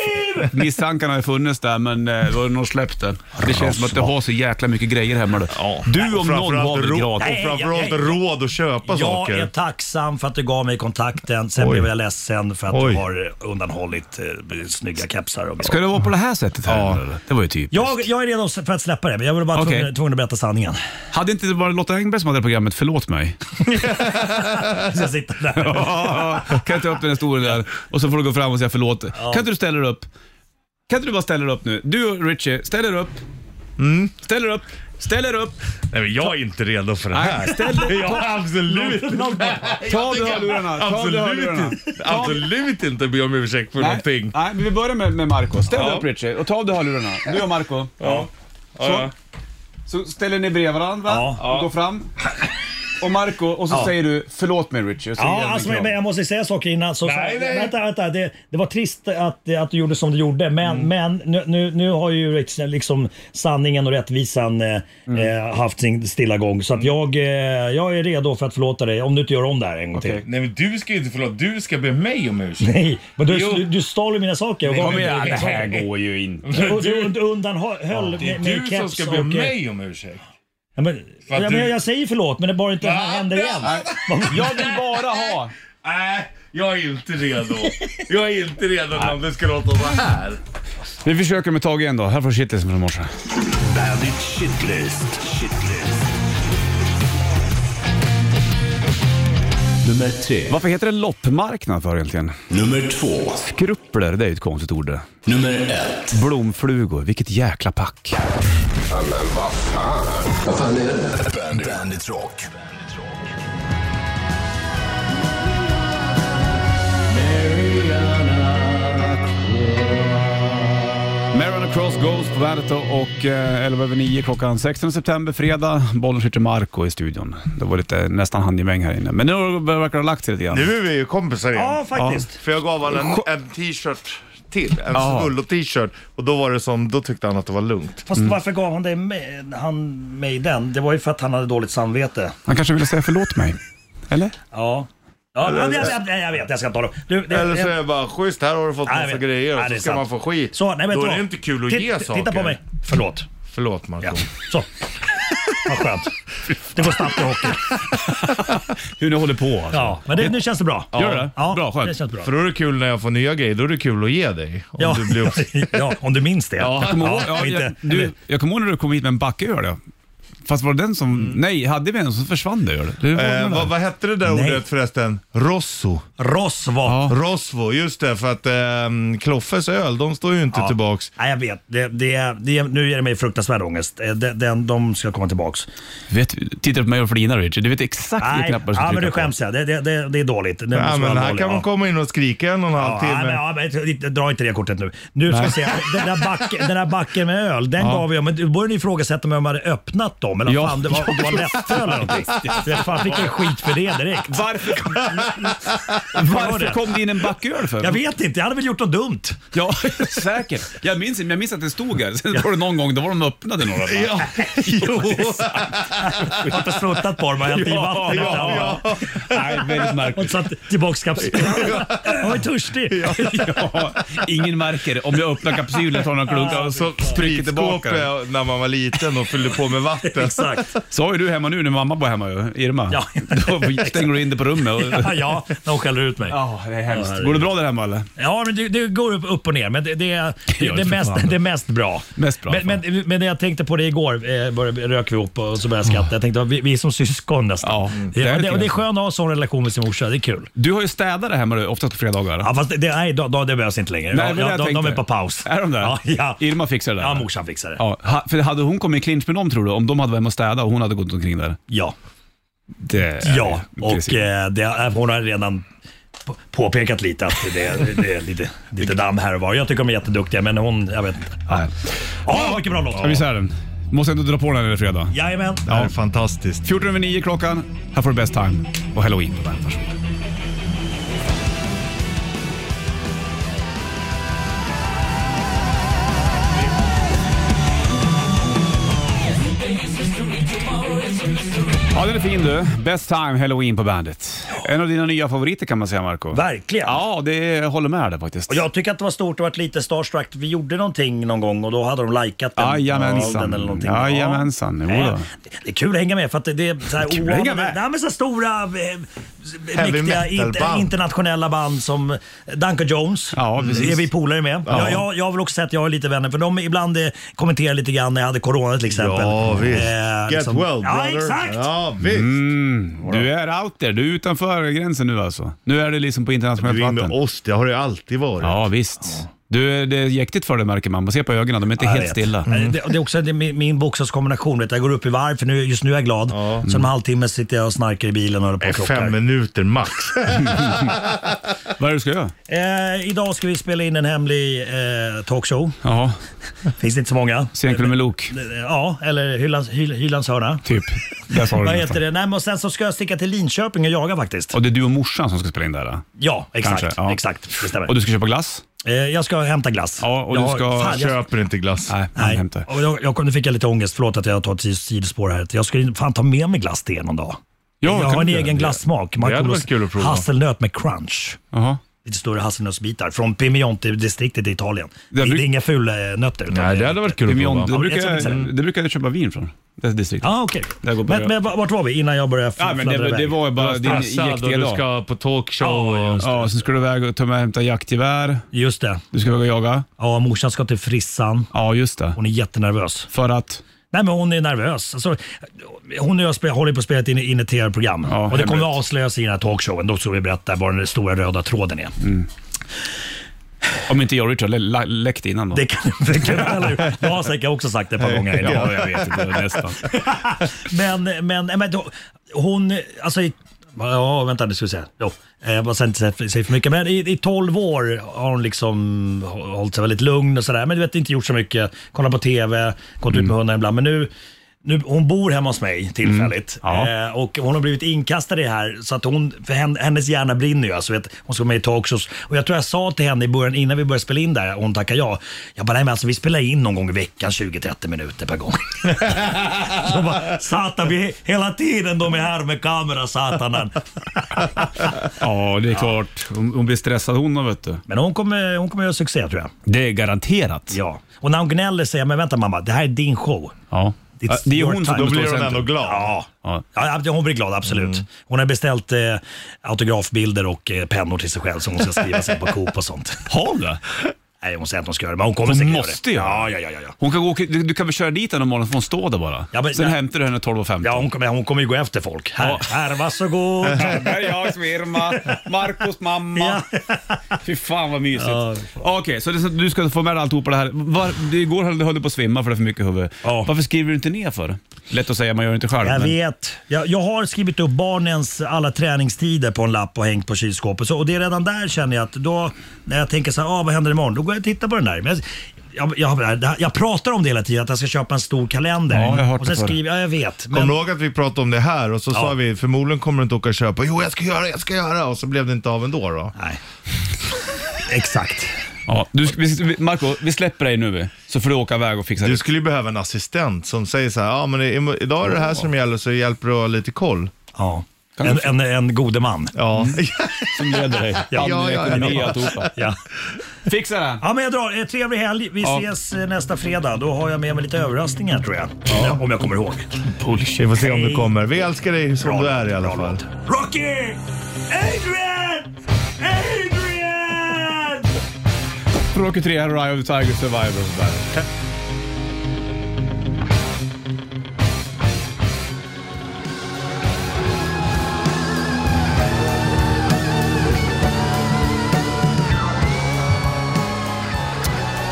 misstankarna har ju funnits där men eh, då har någon släppt det. Det känns som att du har så jäkla mycket grejer hemma du. Du om någon Framförallt har väl rå- gratis? Nej, Och framförallt jag- jag- råd att köpa Jag saker. är tacksam för att du gav mig kontakten. Sen Oj. blev jag ledsen för att Oj. du har undanhållit eh, snygga kepsar och Ska det vara på det här sättet? Här, Ja. eller? Det var ju typiskt. jag, jag är redo för att släppa det, men jag var bara Okej. tvungen, tvungen att [laughs] berätta sanningen. Hade inte det varit Lotta Engberg som hade det programmet Förlåt mig? Så jag sitter där. [laughs] kan jag ta upp den historien där? Och så får du gå fram och säga förlåt. Kan inte du ställa dig upp? Kan inte du bara ställa dig upp nu? Du och Richie, ställ er upp. Mm. Ställ er upp. Ställ er upp. Nej, men jag är inte redo för det Nej, här. ställ [laughs] dig Jag absolut Ta av dig hörlurarna. Ta av dig Absolut, hörlurarna. inte- Ta av- absolut inte be om ursäkt för någonting. Nej, men vi börjar med, med Marco. Ställ dig Ja. upp Richie och ta av dig hörlurarna. Du och Marco. Ja. Ja. Så ställer ni bredvid varandra Ja. och går fram. Och Marco, och så säger du förlåt mig Richie. och så ger Ja, du en alltså, kram. men jag måste säga saker innan. Så, Nej, så, nej. Vänta, vänta. Det, det var trist att, att du gjorde som du gjorde, men, Mm. men nu, nu, nu har ju liksom sanningen och rättvisan eh, Mm. eh, haft sin stilla gång. Så att jag, eh, jag är redo för att förlåta dig om du inte gör om det här en gång till. Okej. Nej men du ska ju inte förlåta, du ska be mig om ursäkt. [laughs] Nej, men du, Jo. du, du stal ju mina saker. Och gav Kom mig igen, mina det här saker. går ju inte. [laughs] Och Du und- undanhöll Det är med, med du som keps ska be och, eh, mig om ursäkt. Ja, men, För att ja, men du- jag säger förlåt, men det bara inte Va? händer igen. Jag vill bara ha. Nej, jag är inte redo. Jag är inte redo om det ska låta så här. Vi försöker med Tage igen då. Här får shitlisten från morse. Bandit Shitlist. Shitlist. Nummer tre. Varför heter det loppmarknad för egentligen? Nummer två. Skrupler, det är ju ett konstigt ord det. Nummer ett. Blomflugor, vilket jäkla pack. Bandit, Bandit Rock. Marion Cross Goes på bandet då och eh, 11 över 9 klockan 16 september, fredag. Bollen skjuter Marco i studion. Det var lite nästan handgemäng här inne. Men nu har- verkar det ha lagt sig lite grann. Nu är vi ju kompisar igen. Ja, faktiskt. För jag gav honom en, en t-shirt till. En Ja. svull och t-shirt. Och då var det som, då tyckte han att det var lugnt. Fast Mm. varför gav han, dig med, han mig den? Det var ju för att han hade dåligt samvete. Han kanske ville säga förlåt mig. Eller? Ja. Ja, jag, jag, jag, jag vet, jag ska inte hålla på. Du, det- Eller så är det bara, schysst här har du fått Nej, massa men- grejer och nej, det så är ska sant. man få skit. Så, nej, vet då du är vad? det inte kul att Titt- ge titt- saker. Titta på mig. Förlåt. Förlåt Marco. Ja. Så. [laughs] Vad skönt. Det går snabbt i hockey. [laughs] Hur ni håller på alltså. Ja, men det, nu känns det bra. Gör det? Ja, Bra, skönt. Det känns bra. För då är det kul när jag får nya grejer, då är det kul att ge dig. Om ja. du [laughs] blir upp... ja, om du minns det. Ja. Jag kommer ihåg, och ja, jag, inte, du, jag kommer ihåg när du kom hit med en backe öl. ja. Fast var det den som... Mm. Nej, hade vi en som försvann det öl? Det var Eh, den där. vad, vad hette det där Nej. ordet förresten? Rosso. Ross var... Ja. Rosvo, just det. För att ehm, Kloffes öl, de står ju inte Ja. tillbaks. Nej, jag vet. Det, det, det, nu ger det mig fruktansvärd ångest. Eh, De, de, de ska komma tillbaks. Vet, tittar du på mig och flinar Richard? Du vet exakt vilka Nej, knappar du ska ja, men trycka du på. skäms jag. Det, det, det, det är dåligt. Det Ja, måste men vara här dåligt. kan man Ja. komma in och skrika en och en halv Ja, nej, men, timme. ja, men, dra inte det kortet nu. Nu ska vi se. Den där, backen, den där backen med öl, den gav jag. Men du började ifrågasätta om jag hade öppnat dem. Eller Ja. ja. fan, det var, det var lättöl eller någonting. Jag fan fick jag skit för det direkt. Varför, [laughs] Var varför det? kom det in en backöl för? Jag vet inte, jag hade väl gjort något dumt. Ja, [laughs] säkert. Jag minns, jag minns att det stod här. Sen var det någon gång, då var de öppnade några. [laughs] Ja, [laughs] jo. Jag har inte struntat på dem och hällt i Ja, vatten. ja, ja. Nej, väldigt Och [laughs] märkligt. satt tillbaks kapsylen. Jag var ju törstig. Ja, ingen märker om jag öppnar kapsylen, tar några klunkar och så Så trycker tillbaka den. spritskåpet när man var liten och fyllde på med vatten. [laughs] Exakt. Så har ju du hemma nu när mamma bor hemma ju, Irma. Ja. [laughs] [laughs] Då stänger du in det på rummet. Och... Ja, [laughs] ja, de skäller ut mig. Ja, det är hemskt. Går det bra där hemma eller? Ja, men det, det går upp, upp och ner, men det, [laughs] det, är- det, Ja, det, för är mest, fan. det är mest bra. Mest bra, men, men, men det jag tänkte på det igår, eh, började, rök vi upp och så började jag skratta. Jag tänkte, vi, vi är som syskon nästan. Ja, det, det är är det det, och det kanske. är skönt att ha en sån relation med sin morsa, det är kul. Du har ju städare hemma du, oftast på fredagar. Ja, fast det, det, nej, då, då, det behövs inte längre. Nej, Ja, men det ja, jag de, de tänkte. är på paus. Är de där? Ja, ja. Irma fixar det där? ja morsan fixar det. Ja. Ja, ha- för hade hon kommit i clinch med dem tror du? Om de hade varit hemma och städat och hon hade gått omkring där? Ja, Det och Precis. eh, det, hon har redan på- påpekat lite att det, det är lite, lite damm här och var. Jag tycker de är jätteduktiga, men hon, jag vet inte. Nej. eh, Ja, vilken bra låt! Ska vi säga den? Måste ändå dra på den här när det är fredag. Jajamän! Det här är fantastiskt. 14 över 9 klockan. Här får du Best Time och Halloween på bandet. Varsågod. Ja, den är fin du. Best time Halloween på bandet. En av dina nya favoriter kan man säga, Marco. Verkligen! Ja, det jag håller med där faktiskt. Och jag tycker att det var stort och varit lite starstruck. Vi gjorde någonting någon gång och då hade de likat den. Jajamensan. Ja, den eller någonting. Jajamensan, jo då. Ja. Det- Det är kul att hänga med för att det- det är så här kul att hänga med. Nej, men så här stora, eh, Heavy mäktiga inter, metal-band. internationella band som Duncan Jones. Ja, precis. Det är vi polare med. Ja. Jag, jag, jag vill också säga att jag har lite vänner för de ibland eh, kommenterar lite grann när jag hade corona till exempel. Ja, visst. Get Eh, liksom- well Ja, brother. exakt! Mm, Ja, visst. Du är out there. Du är utanför gränsen nu alltså. Nu är det liksom på internationellt Du är vatten. med oss, det har det alltid varit. Ja, visst. Du, det är jäktigt för dig märker man. Man ser på ögonen, de är inte Jag helt vet. stilla. Nej, Det, det är också det, är min, min bokstavskombination. Vet, du. jag går upp i varv, för nu, just nu är jag glad. Sen om en halvtimme sitter jag och snarkar i bilen och håller på Eh, och Fem klockar. minuter [laughs] max. Vad är det du ska göra? Eh, idag ska vi spela in en hemlig eh, talkshow. Jaha, Finns det inte så många. Senkväll med Lok. Eh, Ja, eller Hyllans, Hyl, Hylands hörna. Typ. Där sa du Vad nästan. heter det? Nej, men och sen så ska jag sticka till Linköping och jaga faktiskt. Och det är du och morsan som ska spela in där. då? Ja, exakt. Kanske, ja. exakt det stämmer. Och du ska köpa glass? eh, jag ska hämta glass. Ja, och du jag, har- ska fan, jag, Köper inte glass. Nej, han Nej, hämtar. och jag, jag, kom- nu fick jag lite ångest. Förlåt att jag tar ett sidospår här. Jag ska ju fan ta med mig glass till er någon dag. Ja, jag kan har en du göra egen det? glassmak. hade Markoolios varit kul att prova. Hasselnöt med crunch. Jaha. Lite större hasselnötsbitar från Piemonte-distriktet i Italien. Det, Det bruk- det är inga fula eh, nötter. utan Nej, det hade varit kul att Pimion, prova. det, brukar, Ja, jag tror inte jag- det brukar jag köpa vin från. Det är distriktet. Ja, okej. Det går bra. Men, men vart var vi innan jag började Ja, men det, det var ju bara din Stressad och jäktiga du dag. ska på talkshow. Ja, och- just Ja, sen ska du iväg och ta med och hämta jaktgevär. Just det. Du ska iväg och jaga. Ja, morsan ska till frissan. Ja, just det. Hon är jättenervös. För att... Nej, men hon är nervös. Alltså, hon och jag spel, håller på att spela in, in ett tv-program. Ja, och det kommer hemligt. att avslöjas i den här talkshowen. Då ska vi berätta vad den stora röda tråden är. Mm. Om inte jag och Richard lä- lä- läckte innan då. Det kan [laughs] det kan jag väl ha gjort. Jag har säkert också sagt det ett par gånger idag. Ja, jag vet inte. Nästan. men, men, eh, men då, hon, alltså i, Ja, vänta nu ska vi se. Jo, eh, jag ska inte säga- säga för mycket, men i, i 12 år har hon liksom hållit sig väldigt lugn och sådär. Men du vet, inte gjort så mycket. Kollat på TV, gått ut med hunden ibland. Men nu, nu, hon bor hemma hos mig tillfälligt Ja. eh, och hon har blivit inkastad i det här så att hon, för henne, hennes hjärna brinner ju. Alltså, vet, hon ska vara med i talkshows och jag tror jag sa till henne i början innan vi började spela in där, och hon tackade ja. Jag bara, nej men alltså vi spelar in någon gång i veckan 20-30 minuter per gång. så hon bara, satan vi hela tiden de är här med kamera satanen. Ja, det är klart. Hon, hon blir stressad hon då, vet du. Men hon kommer, hon kommer göra succé tror jag. Det är garanterat. Ja. Och när hon gnäller säger jag, men vänta mamma, det här är din show. Ja. It's Det är ju your hon som time. Då kommer stå i blir hon centrum. ändå glad. Ja. Ja. Ja, hon blir glad, absolut. Hon har beställt eh, autografbilder och eh, pennor till sig själv som hon ska skriva sen på Coop och sånt. [laughs] Har hon det? Nej, hon säger att hon ska göra det, men hon kommer Hon säkert måste göra det. göra Ja, ja, ja, ja. Hon kan gå, och- du, du kan väl köra dit henne om morgonen för hon står där bara. Ja, men- Sen ja. hämtar du henne 12.15. Ja, hon kommer, hon kommer ju gå efter folk. Här, Ja. här [laughs] varsågod. Där är jag, Svirma, Marcos mamma. Ja. Fy fan vad mysigt. Ja, Okej, så det, du ska få med dig alltihopa det här. Var, det, igår höll, höll du på att svimma för det är för mycket huvud. Ja. Varför skriver du inte ner för? Lätt att säga, man gör det inte själv. Jag men- vet. Jag, jag har skrivit upp barnens alla träningstider på en lapp och hängt på kylskåpet. Så, och det är redan där känner jag att då, när jag tänker så här, ah, vad händer imorgon? Då går jag och tittar på den där. Men jag, jag, jag, jag pratar om det hela tiden, att jag ska köpa en stor kalender. Ja, jag har hört och sen det förr. skriver jag, ja, jag vet. Kommer Men, du ihåg att vi pratade om det här och så sa vi förmodligen kommer du inte åka och köpa. Jo, jag ska göra, jag ska göra. Och så blev det inte av ändå då. nej. [laughs] Exakt. Ja, du, vi, vi- Marco, vi släpper dig nu vi. så får du åka iväg och fixa Du det. skulle ju behöva en assistent som säger så här, ja men i- idag är det här som gäller så hjälper du att ha lite koll. Ja. En, en, en gode man. Ja. Som leder dig. Ja, ja, ja. Ekonomi och alltihopa. Ja. Fixa det. ja, men jag drar. Eh, Trevlig helg. Vi Ja. ses eh, nästa fredag. Då har jag med mig lite överraskningar tror jag. Om jag kommer ihåg. [laughs] Vi får se om du kommer. Vi älskar dig som du är i alla fall. Rocky! Adrian! Adrian! Rocky 3, Eye of the Tiger, Survivor och sådär.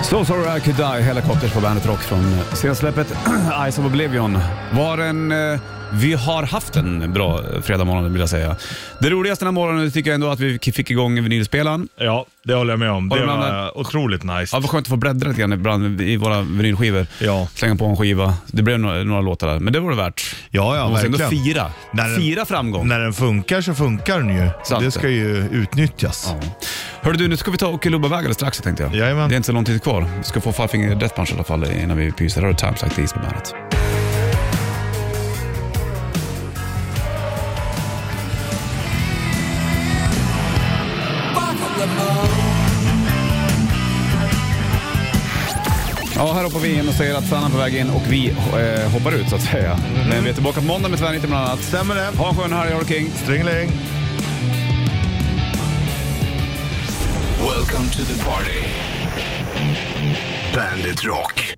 So Sorry I Could Die, Helicopters på Bandet Rock från sensläppet [clears throat] Eyes of Oblivion. Var en, eh, vi har haft en bra eh, fredagmorgon vill jag säga. Det roligaste den här morgonen tycker jag ändå att vi fick igång vinylspelaren. Ja, det håller jag med om. Håller Det du med om var otroligt nice. Ja, vad skönt att få bläddra lite grann ibland i våra vinylskivor. Ja. Slänga på en skiva. Det blev några, några låtar där, men det var det värt. Ja, ja, Man måste ändå verkligen. fira. När- fira framgång. När den funkar så funkar den ju. Sant Det ska ju utnyttjas. Ja. Hörru du, nu ska vi ta och lubba vägarna strax tänkte jag. Jajamän. Det är inte så lång tid kvar. Vi ska få Five Finger Death Punch i alla fall innan vi pyser. Här har du Times Like These på bandet. Ja, här hoppar vi in och säger att Sanna är på väg in och vi eh, hoppar ut så att säga. Men vi är tillbaka på måndag med Tvärnitten bland annat. Stämmer det? Ha en skön helg, Harry King. Stringeling. Welcome to the party. Bandit Rock.